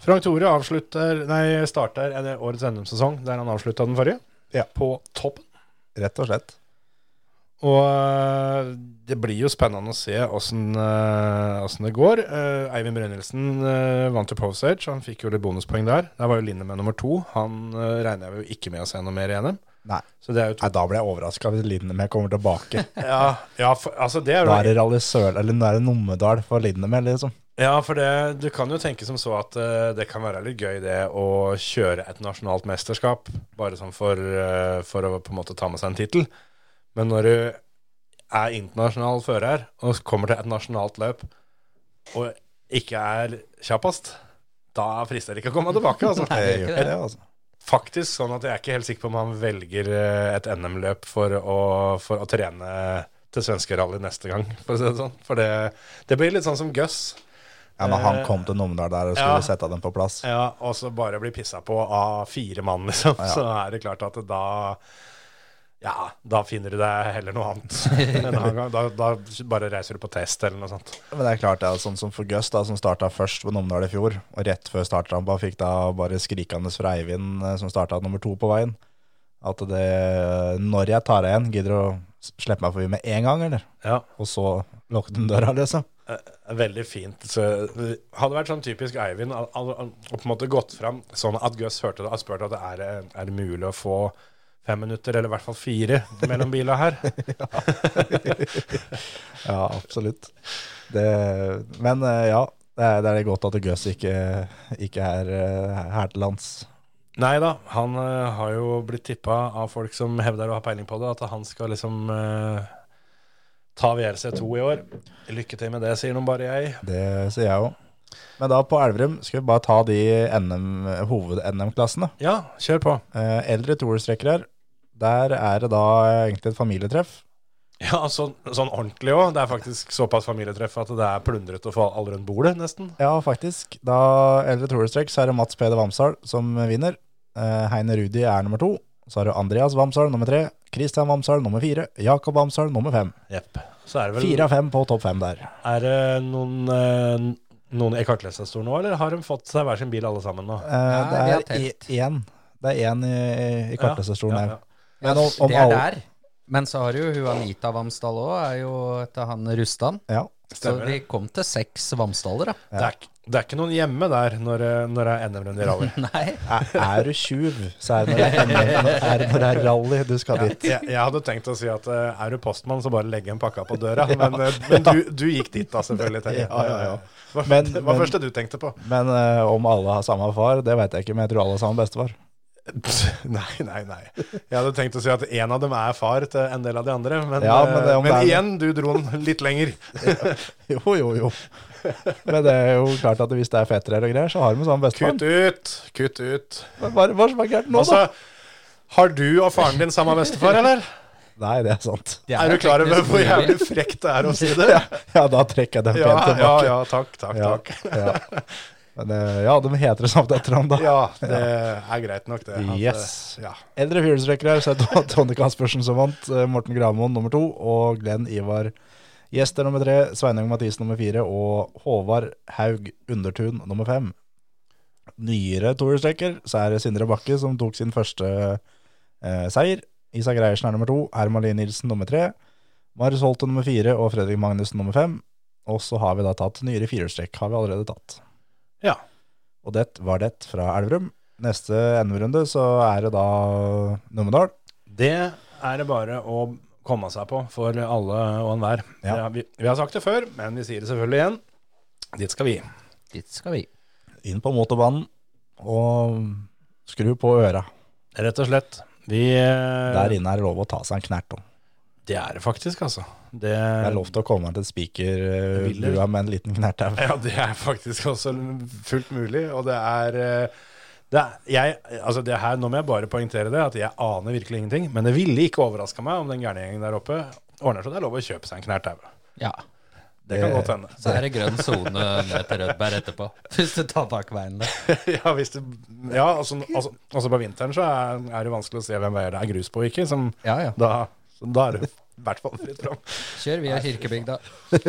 Frank Tore avslutter, nei, starter en- årets NM-sesong der han avslutta den forrige,
Ja.
på toppen.
Rett og slett.
Og eh, det blir jo spennende å se åssen det går. Eh, Eivind Brynildsen eh, vant jo Pose Age, han fikk jo litt bonuspoeng der. Der var jo Lindemann nummer to. Han uh, regner jeg jo ikke med å se noe mer i NM.
Nei.
Så det er jo to.
Nei, da ble jeg overraska hvis Lindemer kommer tilbake.
Ja, ja for, altså det er
Nå er
jo
det Rally Sør, eller nå er det Numedal for Lindemer, liksom.
Ja, for det, du kan jo tenke som så at eh, det kan være litt gøy det å kjøre et nasjonalt mesterskap, bare sånn for, eh, for å på en måte ta med seg en tittel. Men når du er internasjonal fører og kommer til et nasjonalt løp og ikke er kjappest, da frister det ikke å komme tilbake. Altså.
Nei, det er ikke det.
Ja, altså.
Faktisk sånn at jeg er ikke helt sikker på om han velger eh, et NM-løp for, å- for å trene til svenskerally neste gang, for å si det sånn. For det, det blir litt sånn som Gus.
Ja, når han kom til Numedal der og skulle
Ja.
sette dem på plass.
Ja, og så bare bli pissa på av fire mann, liksom. Så er det klart at da Ja, da finner du deg heller noe annet. En annen gang. Da, da bare reiser du på test eller noe sånt.
Men det er klart, det er sånn som for Gus, da, som starta først på Numedal i fjor, og rett før startrampa fikk da bare skrikende fra Eivind, eh, som starta nummer to på veien, at det Når jeg tar deg igjen, gidder du å s- slippe meg forbi med en gang, eller?
Ja,
Og så lukket den døra, liksom.
Eh, Veldig fint. Så, det hadde vært sånn typisk Eivind å på en måte gått fram sånn at Gus hørte det og spurte at er det er det mulig å få fem minutter, eller i hvert fall fire, mellom bila her.
Ja, absolutt. Det, men eh, ja, det er, det er godt at Gus ikke, ikke er eh, her til lands.
Nei da, han eh, har jo blitt tippa av folk som hevder å ha peiling på det, at han skal liksom eh, ta VRC2 i år. Lykke til med det, sier noen bare jeg.
Det sier jeg òg. Men da på Elverum skal vi bare ta de NM, hoved-NM-klassene.
Ja, kjør på.
Eh, eldre toerstrekker her. Der er det da eh, egentlig et familietreff.
Ja, sånn, sånn ordentlig òg. Det er faktisk såpass familietreff at det er plundret å få alle rundt bordet, nesten.
Ja, faktisk. Da eldre toerstrekk, så er det Mats Peder Vamsdal som vinner. Eh, Heine Rudi er nummer to. Så har du Andreas Vamsdal nummer tre. Christian Vamsdal nummer fire. Jakob Vamsdal nummer fem.
Jepp. Så er det vel
Fire av fem på topp fem der.
Er det noen, eh, noen i kartleserstolen nå, eller har de fått seg hver sin bil alle sammen nå?
Eh,
vi har
det er
telt.
i- én. Det er én i, i kartleserstolen
Ja,
her.
ja, ja.
Ja,
Men om- om
det er
alle-
der. Men så har du jo hun Anita Vamsdal òg, er jo etter han Rustan.
Ja,
Så
Stemmer
vi kom til seks vamsdaler, da.
Det, er, ikke- det er ikke noen hjemme der når, eh, når det er NM-runde i rally.
Nei.
Er, er du tjuv, så er det når det er, er, det når det er rally du skal dit.
Jeg, jeg hadde tenkt å si at eh, er du postmann, så bare legg en pakke på døra. Men, eh, men du, du gikk dit, da, selvfølgelig. Terje.
Ja, ja, ja.
Hva,
Men-
hva
men-
første du tenkte på?
Men eh, om alle har samme far, det vet jeg ikke, men jeg tror alle har samme bestefar.
Nei, nei, nei. Jeg hadde tenkt å si at en av dem er far til en del av de andre. Men,
Ja,
eh,
men det- om
men
det er-
igjen, du dro den litt lenger.
Jo, jo, jo. Men det er jo klart at hvis det er fettere og greier, så har de samme bestefar.
Kutt ut, kutt ut.
Hva, hva som er gærent nå, da?
Altså, har du og faren din samme bestefar, eller?
Nei, det er sant.
Det
Er du klar over
teknisk
hvor jævlig
mulig.
frekt det er å si det?
Ja, ja da trekker jeg den
Ja,
pent
ja,
tilbake.
ja, takk, takk, takk.
ja. Men, eh, ja, de heter det samt etter ham, da.
Ja, det er greit nok, det. at,
Yes.
eh, Ja.
Eldre fjulstrekkere, så er det Tonje Caspersen som vant, eh, Morten Gravmoen nummer to, og Glenn Ivar Gjester nummer tre, Sveinung Mathisen nummer fire, og Håvard Haug Undertun nummer fem. Nyere tohjulstrekker, så er det Sindre Bakke som tok sin første eh, seier. Isak Reiersen er nummer to, Herman Lie Nilsen nummer tre, Marius Holte nummer fire og Fredrik Magnussen nummer fem. Og så har vi da tatt nyere firehjulstrekk, har vi allerede tatt.
Ja.
Og det var det fra Elverum. Neste NM-runde så er det da Numedal.
Det er det bare å komme seg på for alle og enhver.
Ja.
Det har Vi, vi har sagt det før, men vi sier det selvfølgelig igjen. Dit skal vi.
Dit skal vi.
Inn på motorbanen og skru på øra.
Rett og slett. Vi
Der inne er det lov å ta seg en knert. også.
Det er det faktisk, altså. Det,
Det er lov til å komme til
Biler.
spikerbua med en liten knertau.
Ja, det er faktisk også fullt mulig, og det er eh, det er, jeg, altså det her, nå må jeg bare poengtere det, at jeg aner virkelig ingenting. Men det ville ikke overraska meg om den gærne gjengen der oppe ordner så det er lov å kjøpe seg en knert tau.
Ja.
Det kan godt hende.
Så er det grønn sone ned til Rødberg etterpå, hvis du tar bakveien der.
ja, hvis det, ja altså, altså, altså på vinteren så er, er det vanskelig å se hvem veier det er grus på og ikke. Som
Ja, ja.
da, så da er det i hvert fall fritt fram.
Kjør via Kirkebygda.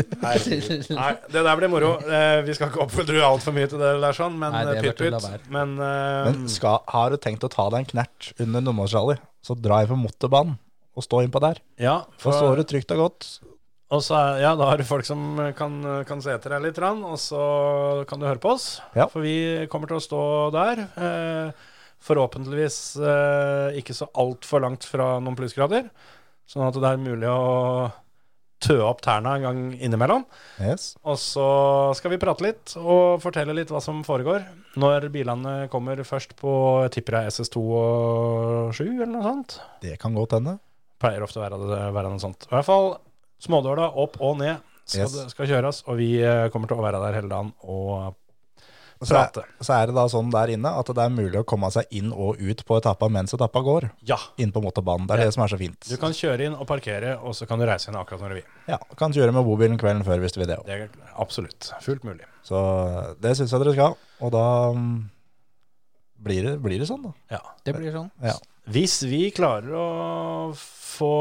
Nei, det der blir moro. Eh, vi skal ikke oppfordre altfor mye til det der, sånn, men
Nei, det
eh, pytt
bør du la
pytt. Men, eh,
Men skal, har du tenkt å ta deg en knert under numedalsrally, så dra inn på motorbanen og stå innpå der.
ja,
Da
for-
står du trygt og godt.
Og så, er- ja, da har du folk som kan, kan se etter deg litt, grann, og så kan du høre på oss.
Ja.
For vi kommer til å stå der. Eh, forhåpentligvis eh, ikke så altfor langt fra noen plussgrader. Sånn at det er mulig å tø opp tærne en gang innimellom.
Yes.
Og så skal vi prate litt og fortelle litt hva som foregår. Når bilene kommer først på jeg tipper jeg SS2 og 7 eller noe sånt.
Det kan godt hende.
Pleier ofte å være, være noe sånt. I hvert fall smådåla opp og ned skal,
Yes.
det- skal kjøres, og vi eh, kommer til å være der hele dagen og
Så er,
prate.
så er det da sånn der inne at det er mulig å komme seg inn og ut på etappa mens etappa går.
Ja.
Inn på motorbanen. Det er
Ja.
det som er så fint.
Du kan kjøre inn og parkere, og så kan du reise inn akkurat når du vil.
Ja, kan kjøre med bobilen kvelden før hvis du vil det òg.
Det er absolutt fullt mulig.
Så det syns jeg dere skal. Og da mm, blir det, blir det sånn, da.
Ja.
Det blir sånn.
Ja.
Hvis vi klarer å få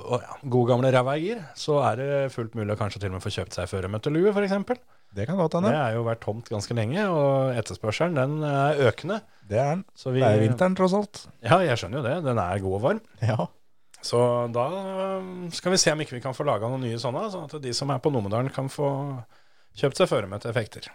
å ja, god gamle ræva i gir, så er det fullt mulig å kanskje til og med få kjøpt seg førermøntelue, f.eks.
Det kan godt
Det
hende.
er jo vært tomt ganske lenge, og etterspørselen den er økende.
Det er den.
Så vi,
Det er jo vinteren, tross alt.
Ja, jeg skjønner jo det. Den er god og varm.
Ja.
Så da um, skal vi se om ikke vi kan få laga noen nye sånne, sånn at de som er på Numedalen kan få kjøpt seg føremøteeffekter.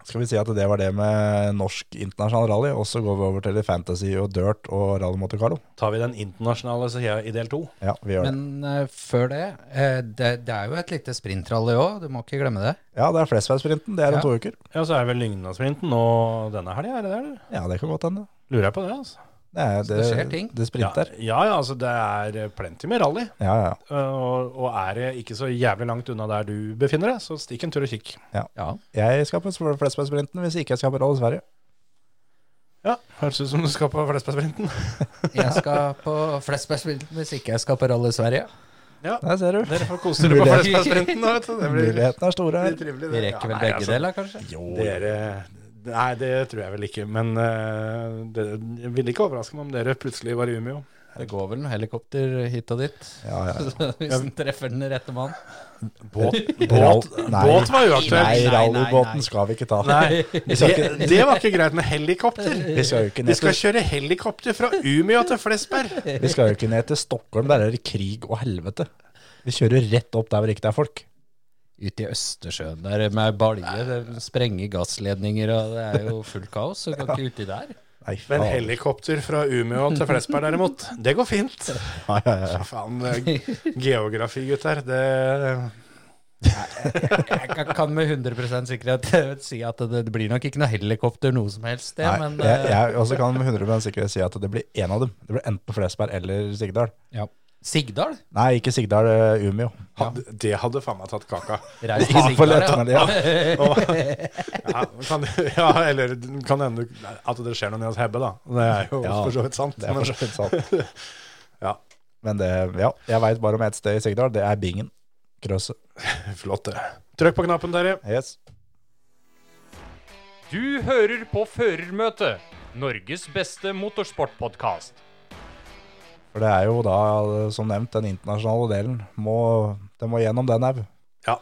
Skal vi si at det var det med norsk internasjonal rally, og så går vi over til litt fantasy og dirt og rally Monte Carlo?
Tar vi den internasjonale sida i del to?
Ja, vi gjør det.
Men eh, før det, eh, det Det er jo et lite sprintrally òg, du må ikke glemme det.
Ja, det er Flesbergsprinten. Det er om
Ja.
to uker.
Ja, så er vel Lygnasprinten og denne helga, er det det? eller?
Ja, det kan godt hende.
Lurer jeg på det, altså.
Det, er,
Så det skjer ting.
Det sprinter.
Ja, ja, ja, altså det er plenty med rally.
Ja, ja. ja.
Uh, Og, og er det ikke så jævlig langt unna der du befinner deg, så stikk en tur og kikk.
Ja.
Jeg skal på Flesbergsprinten hvis ikke jeg skal på Rally Sverige.
Ja, høres ut som du skal på Flesbergsprinten.
Jeg skal på Flesbergsprinten hvis ikke jeg skal på Rally Sverige.
Ja,
Der ser du.
dere får kose dere på
Mulighet.
Flesbergsprinten nå, vet du. Det blir,
Mulighetene er store
blir
her.
trivelig.
Vi
det.
rekker
Ja,
vel
nei,
begge
altså,
deler, kanskje?
Dere Nei, det tror jeg vel ikke. Men eh, det jeg ville ikke overraske meg om dere plutselig var i Umeå.
Det går vel noen helikopter hit og dit.
Ja, ja.
Hvis den treffer den rette mannen.
Båt,
Rall-
båt,
Nei.
båt var uaktuelt.
Nei,
nei, nei, nei.
rallybåten skal vi ikke ta.
Nei,
Vi
det,
skal ikke,
det var ikke greit med helikopter.
vi skal jo ikke
Vi
ned
skal
til,
kjøre helikopter fra Umeå til Flesberg.
vi skal jo ikke ned til Stockholm, der er det krig og helvete. Vi kjører rett opp der hvor ikke det er folk.
Ute i Østersjøen der med balje, det sprenger gassledninger, og det er jo fullt kaos. Så du kan ikke uti der.
Nei,
Men
faen.
helikopter fra Umeå til Flesberg derimot, det går fint.
Ja, ja, ja.
Faen, eh, geografi, gutter. Det
Jeg kan- kan med 100 sikkerhet si at det, det blir nok ikke noe helikopter noe som helst sted,
Nei,
men
jeg,
eh,
jeg også kan med 100 sikkerhet si at det blir én av dem. Det blir enten Flesberg eller Sigdal.
ja. Sigdal?
Nei, ikke Sigdal, eh, Umeå.
hadde, det hadde faen meg tatt kaka.
Reis til
Ja, for
Sigdal, ja.
lett, men det, ja.
Ja, kan, ja eller kan hende du- at det skjer noe nede hos Hebbe, da. Det er jo
Ja,
for så vidt sant.
Det er
men-
for så vidt sant.
Ja.
Men det, ja, jeg veit bare om ett sted i Sigdal. Det er Bingen. Krøset.
Flott, det. Trykk på knappen, Terje.
Yes.
Du hører på Førermøtet, Norges beste motorsportpodkast.
For det er jo da, som nevnt, den internasjonale delen. Må, det må gjennom den au.
Ja.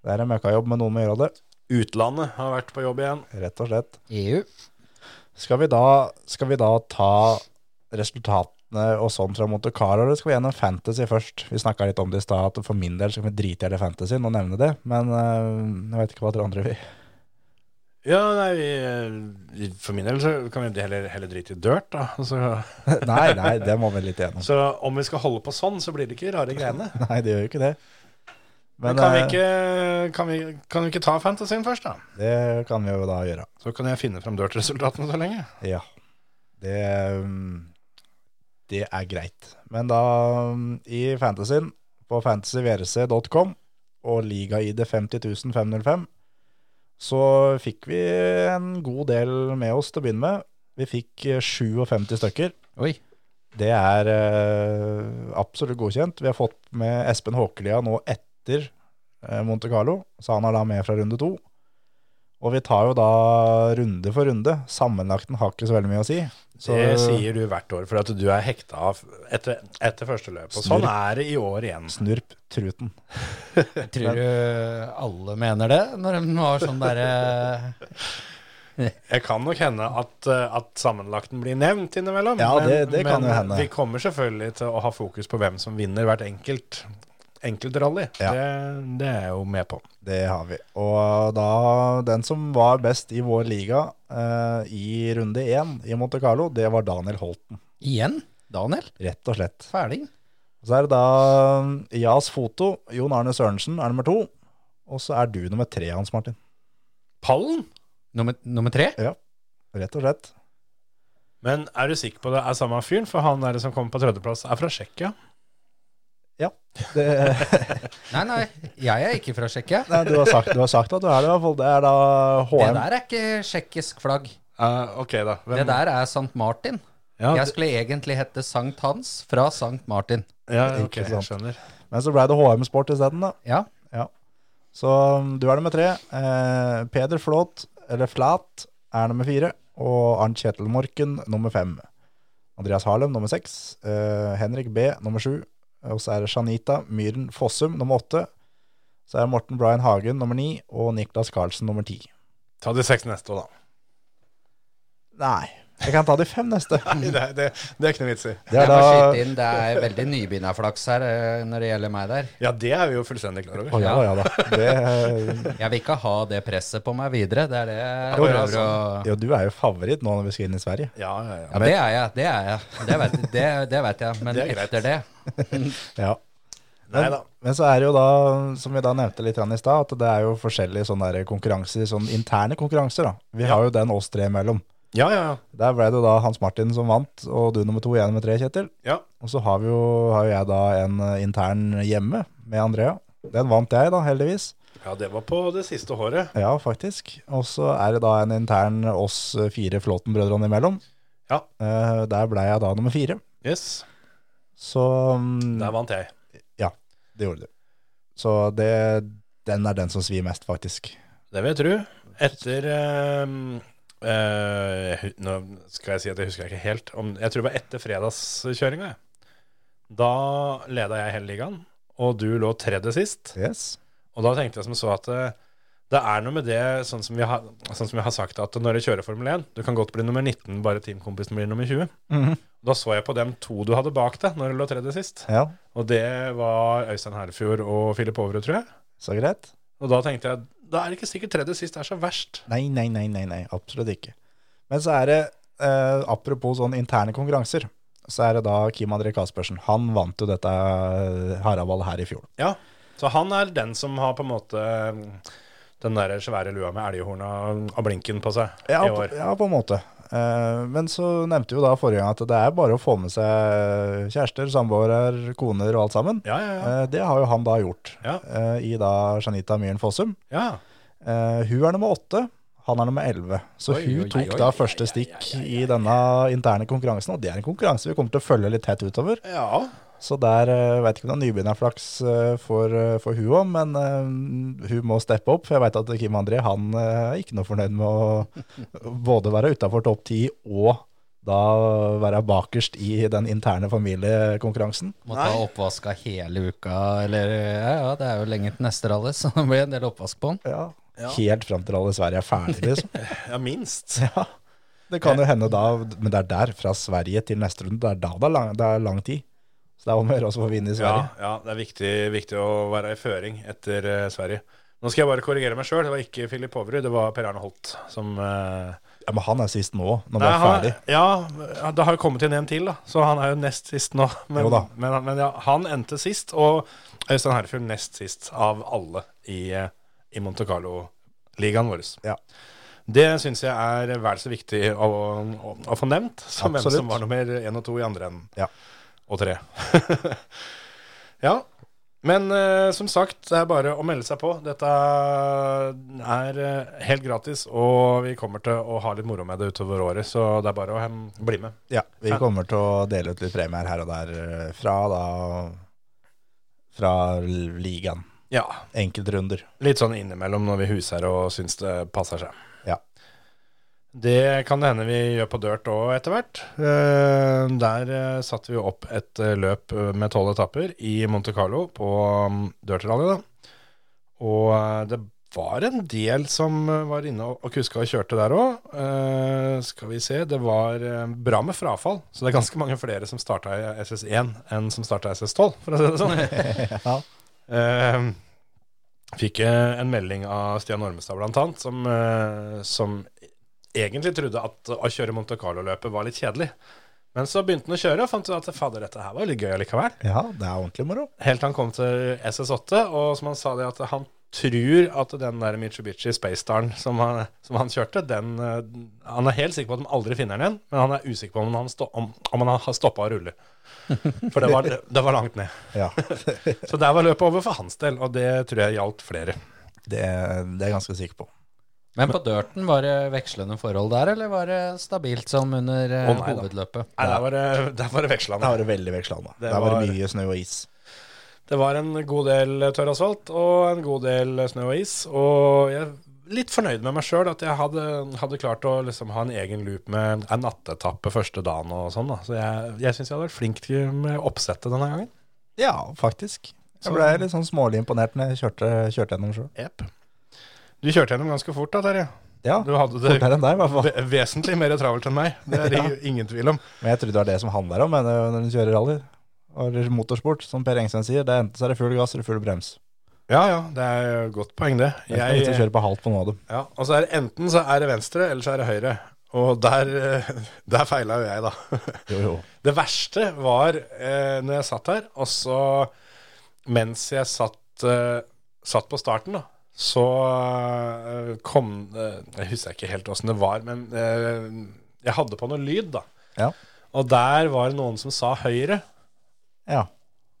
Det er en møkkajobb, men noen må gjøre det.
Utlandet har vært på jobb igjen.
Rett og slett.
EU.
Skal vi da, skal vi da ta resultatene og sånn fra Monte Carlo, eller skal vi gjennom Fantasy først? Vi snakka litt om det i stad, at for min del skal vi drite i hele Fantasyen og nevne det. Men øh, jeg veit ikke hva dere andre vil.
Ja, nei, vi, for min del så kan vi heller, heller drite i dirt, da. Så,
Nei, nei, det må vi litt gjennom.
så om vi skal holde på sånn, så blir det ikke rare greiene.
Nei, det gjør jo ikke det.
Men eh, kan vi,
øh,
ikke, kan, vi, kan vi ikke ta fantasyen først, da?
eh, Det kan vi jo da gjøre.
Så kan jeg finne fram dirt-resultatene så lenge.
Ja. Det, um, det er greit. Men da um, i fantasyen, på fantasyvrc.com og ligaid 50505, så fikk vi en god del med oss til å begynne med. Vi fikk eh, 57 stykker.
Oi.
Det er eh, absolutt godkjent. Vi har fått med Espen Håkelia nå etter eh, Monte Carlo, så han er da med fra runde to. Og vi tar jo da runde for runde. Sammenlagten har ikke så veldig mye å si. Så,
det sier du hvert år, for at du er hekta av etter, etter første løp. Og sånn er det i år igjen.
Snurp truten.
Jeg tror du alle mener det, når de har sånn eh, derre
Jeg kan nok hende at, eh, at sammenlagten blir nevnt innimellom.
Ja, det- det kan
men
jo hende.
vi kommer selvfølgelig til å ha fokus på hvem som vinner hvert enkelt, enkelt rally.
Ja.
Det, det er jeg jo med på.
Det har vi. Og da den som var best i vår liga eh, i runde én i Monte Carlo, det var Daniel Holten.
Igjen? Daniel?
Rett og slett.
Fæling?
Og Så er det da um, Jas Foto, Jon Arne Sørensen er nummer to. Og så er du nummer tre hans, Martin.
Pallen?
Nummer, nummer tre?
Rett og slett.
Men er du sikker på det er samme fyren? For han der som kommer på tredjeplass, er fra Tsjekkia.
Det,
Nei, nei, jeg er ikke fra Tsjekkia.
nei, du, har sagt, du har sagt at du er det, i hvert fall. Det er da
Det
HM.
der er ikke tsjekkisk flagg.
Eh, ok, da. Hvem-
Det der er Sankt Martin.
Ja,
Jeg skulle egentlig hette Sankt Hans fra Sankt Martin.
ja, ok,
Ikke
jeg
sant.
skjønner.
Men så ble det HM Sport isteden, da.
Ja.
Så um, du er nummer tre. Eh, Peder Flåt, eller Flat, er nummer fire. Og Arnt Kjetil Morken, nummer fem. Andreas Harlem, nummer seks. Eh, Henrik B, nummer sju. Og så er det Shanita Myhren Fossum, nummer åtte. Så er det Morten Brian Hagen, nummer ni. Og Niklas Karlsen, nummer ti.
Ta de seks neste òg, da.
Nei, jeg kan ta de fem neste.
Nei, det, det, det er ikke noe vits i.
Det er
jeg må
da
skyte inn, det er veldig nybegynnerflaks her eh, når det gjelder meg der.
Ja, det er vi jo fullstendig klar
Å
over.
ja, ja da. Det, eh,
Jeg vil ikke ha det presset på meg videre. Det er det jeg
Jo, altså. ja,
prøver å
jo, du er jo favoritt nå når vi skal inn i Sverige.
Ja, ja, ja.
Ja, det er jeg. Det er jeg. Det vet, det, det vet jeg. Men
Det er greit.
etter det
Ja.
Nei da.
Men så er det jo da, som vi da nevnte litt grann i stad, at det er jo forskjellige sånne der konkurranser, sånn interne konkurranser. da. Vi har jo den oss tre imellom.
Ja, ja,
Der ble det jo da Hans Martin som vant, og du nummer to, jeg nummer tre, Kjetil.
ja.
Og så har, vi jo, har jo jeg da en eh, intern hjemme med Andrea. Den vant jeg, da, heldigvis.
Ja, det var på det siste håret.
Ja, faktisk. Og så er det da en intern oss eh, fire Flåten-brødrene imellom.
Ja.
Eh, der ble jeg da nummer fire.
Yes.
Så mm,
Der vant jeg.
det gjorde du. Så det, den er den som svir mest, faktisk.
Det vil jeg tro. Etter ehm, eh, hu- Nå skal jeg si at jeg husker ikke helt. Om, jeg tror det var etter fredagskjøringa. jeg. Da leda jeg hele ligaen, og du lå tredje sist.
Yes.
Og da tenkte jeg som så at eh, Det er noe med det, sånn som, vi har, sånn som jeg har sagt, at når jeg kjører Formel 1 Du kan godt bli nummer 19, bare teamkompisen blir nummer 20. Da så jeg på dem to du hadde bak deg når du lå tredje sist.
Ja,
Og det var Øystein Herfjord og Filip Overud, tror jeg.
så greit.
Og da tenkte jeg da er det ikke sikkert tredje sist er så verst.
Nei, nei, nei, nei, nei, absolutt ikke. Men så er det, eh, apropos sånne interne konkurranser, så er det da Kim André Kaspersen. Han vant jo dette eh, Haraball her i fjor.
Ja, Så han er den som har på en måte mm, den der svære lua med elghorna og blinken på seg
Ja,
i
på,
år.
ja, på en måte. Eh, men så nevnte vi jo da forrige gang at det er bare å få med seg kjærester, samboere, koner og alt sammen.
Ja, ja, ja.
Eh, det har jo han da gjort,
Ja.
eh, i da Janita Myhren Fossum.
ja.
Eh, hun er nummer åtte, han er nummer elleve. Så
Oi,
hun
oi,
tok
oi,
da
oi,
første stikk i denne interne konkurransen, og det er en konkurranse vi kommer til å følge litt tett utover.
ja.
Så der eh, vet ikke om det er nybegynnerflaks eh, for, eh, for hun òg, men eh, hun må steppe opp. For jeg veit at Kim André han eh, er ikke noe fornøyd med å både være utafor topp ti og da være bakerst i den interne familiekonkurransen.
Må ta oppvaska hele uka, eller ja, ja, det er jo lenge til neste rally, så det blir en del oppvask på den.
Ja. Helt fram til alle i Sverige er ferdig, liksom.
Ja, minst.
ja. Eh. Det kan jo hende da, men det er der, fra Sverige til neste runde, det er da det er lang, det er lang tid. Så det er om å gjøre også å få vinne i
Ja,
Sverige.
ja, det er viktig, viktig å være i føring etter eh, Sverige. Nå skal jeg bare korrigere meg sjøl. Det var ikke Filip Overud, det var Per Arne Holt som eh,
Ja. Men han er sist nå, når
Nei,
han er
han,
ferdig.
ja, det har jo kommet inn en til, da. Så han er jo nest sist nå. Men,
Jo da.
men, men ja, han endte sist, og Øystein Herfjord nest sist av alle i, eh, i Monte Carlo-ligaen vår.
Ja.
Det syns jeg er vel så viktig å, å, å få nevnt som hvem
Absolutt.
som var nummer én og to i andre enden.
Ja.
Og tre. ja. Men eh, som sagt, det er bare å melde seg på. Dette er eh, helt gratis, og vi kommer til å ha litt moro med det utover året, så det er bare å hem, bli med.
Ja, vi
Fan.
kommer til å dele ut litt premier her og der eh, fra da Fra ligaen.
Ja.
Enkeltrunder.
Litt sånn innimellom når vi huser og syns det passer seg.
Ja.
Det kan det hende vi gjør på dirt òg etter hvert. Eh, Der eh, satte vi jo opp et eh, løp eh, med tolv etapper i Monte Carlo på mm, dirt-rally. da. Og eh, det var en del som eh, var inne og- og kuska og kjørte der òg. Skal vi se Det var eh, bra med frafall, så det er ganske mange flere som starta i SS1 enn som starta i SS12, for å si det sånn.
Ja.
Eh, fikk eh, en melding av Stian Ormestad blant annet, som, eh, som egentlig trodde at å kjøre Monte Carlo-løpet var litt kjedelig. Men så begynte han å kjøre og fant ut at fader, dette her var litt gøy allikevel.
ja, det er ordentlig moro.
Helt til han kom til SS8, og som han sa det, at han tror at den der Mitsubishi Spacestaren som han, som han kjørte, den eh, Han er helt sikker på at de aldri finner den igjen, men han er usikker på om han, stå, om, om han har stoppa å rulle. For det var, det var langt ned.
Ja,
Så der var løpet over for hans del, og det tror jeg gjaldt flere.
det, det er jeg ganske sikker på.
Men på dirten, var det vekslende forhold der, eller var det stabilt som under eh,
Å, nei da.
hovedløpet?
Nei, der var det, der var det
Det
vekslende.
var veldig vekslende.
Det
Det var
var-
mye snø og is.
Det var en god del tørr asfalt og en god del snø og is. Og jeg er litt fornøyd med meg sjøl at jeg hadde, hadde klart å liksom ha en egen loop med en nattetappe første dagen og sånn. da. Så jeg, jeg syns jeg hadde vært flink til med oppsettet denne gangen.
Ja, faktisk. Jeg ble litt sånn smålig imponert når jeg kjørte, kjørte gjennom sjøl.
Jep. Du kjørte gjennom ganske fort da, Terje.
Ja,
Du hadde det
fortere enn deg i hvert fall.
ve- vesentlig mer travelt enn meg. Det er det jo ingen tvil om.
Men jeg trodde det var det som handler om men, eh, når du kjører rally. Eller motorsport, som Per Engstein sier. Det er enten så er det full gass eller full brems.
Ja ja, det er et godt poeng, det.
Jeg skal ikke kjøre på halvt på noe av dem.
Ja, og så er det enten så er det venstre, eller så er det høyre. Og der, eh, der feila jo jeg, da.
Jo, jo.
Det verste var eh, når jeg satt her, og så mens jeg satt, eh, satt på starten, da, så eh, kom eh, Jeg husker ikke helt åssen det var, men eh, jeg hadde på noe lyd, da.
Ja.
Og der var det noen som sa høyre.
Ja.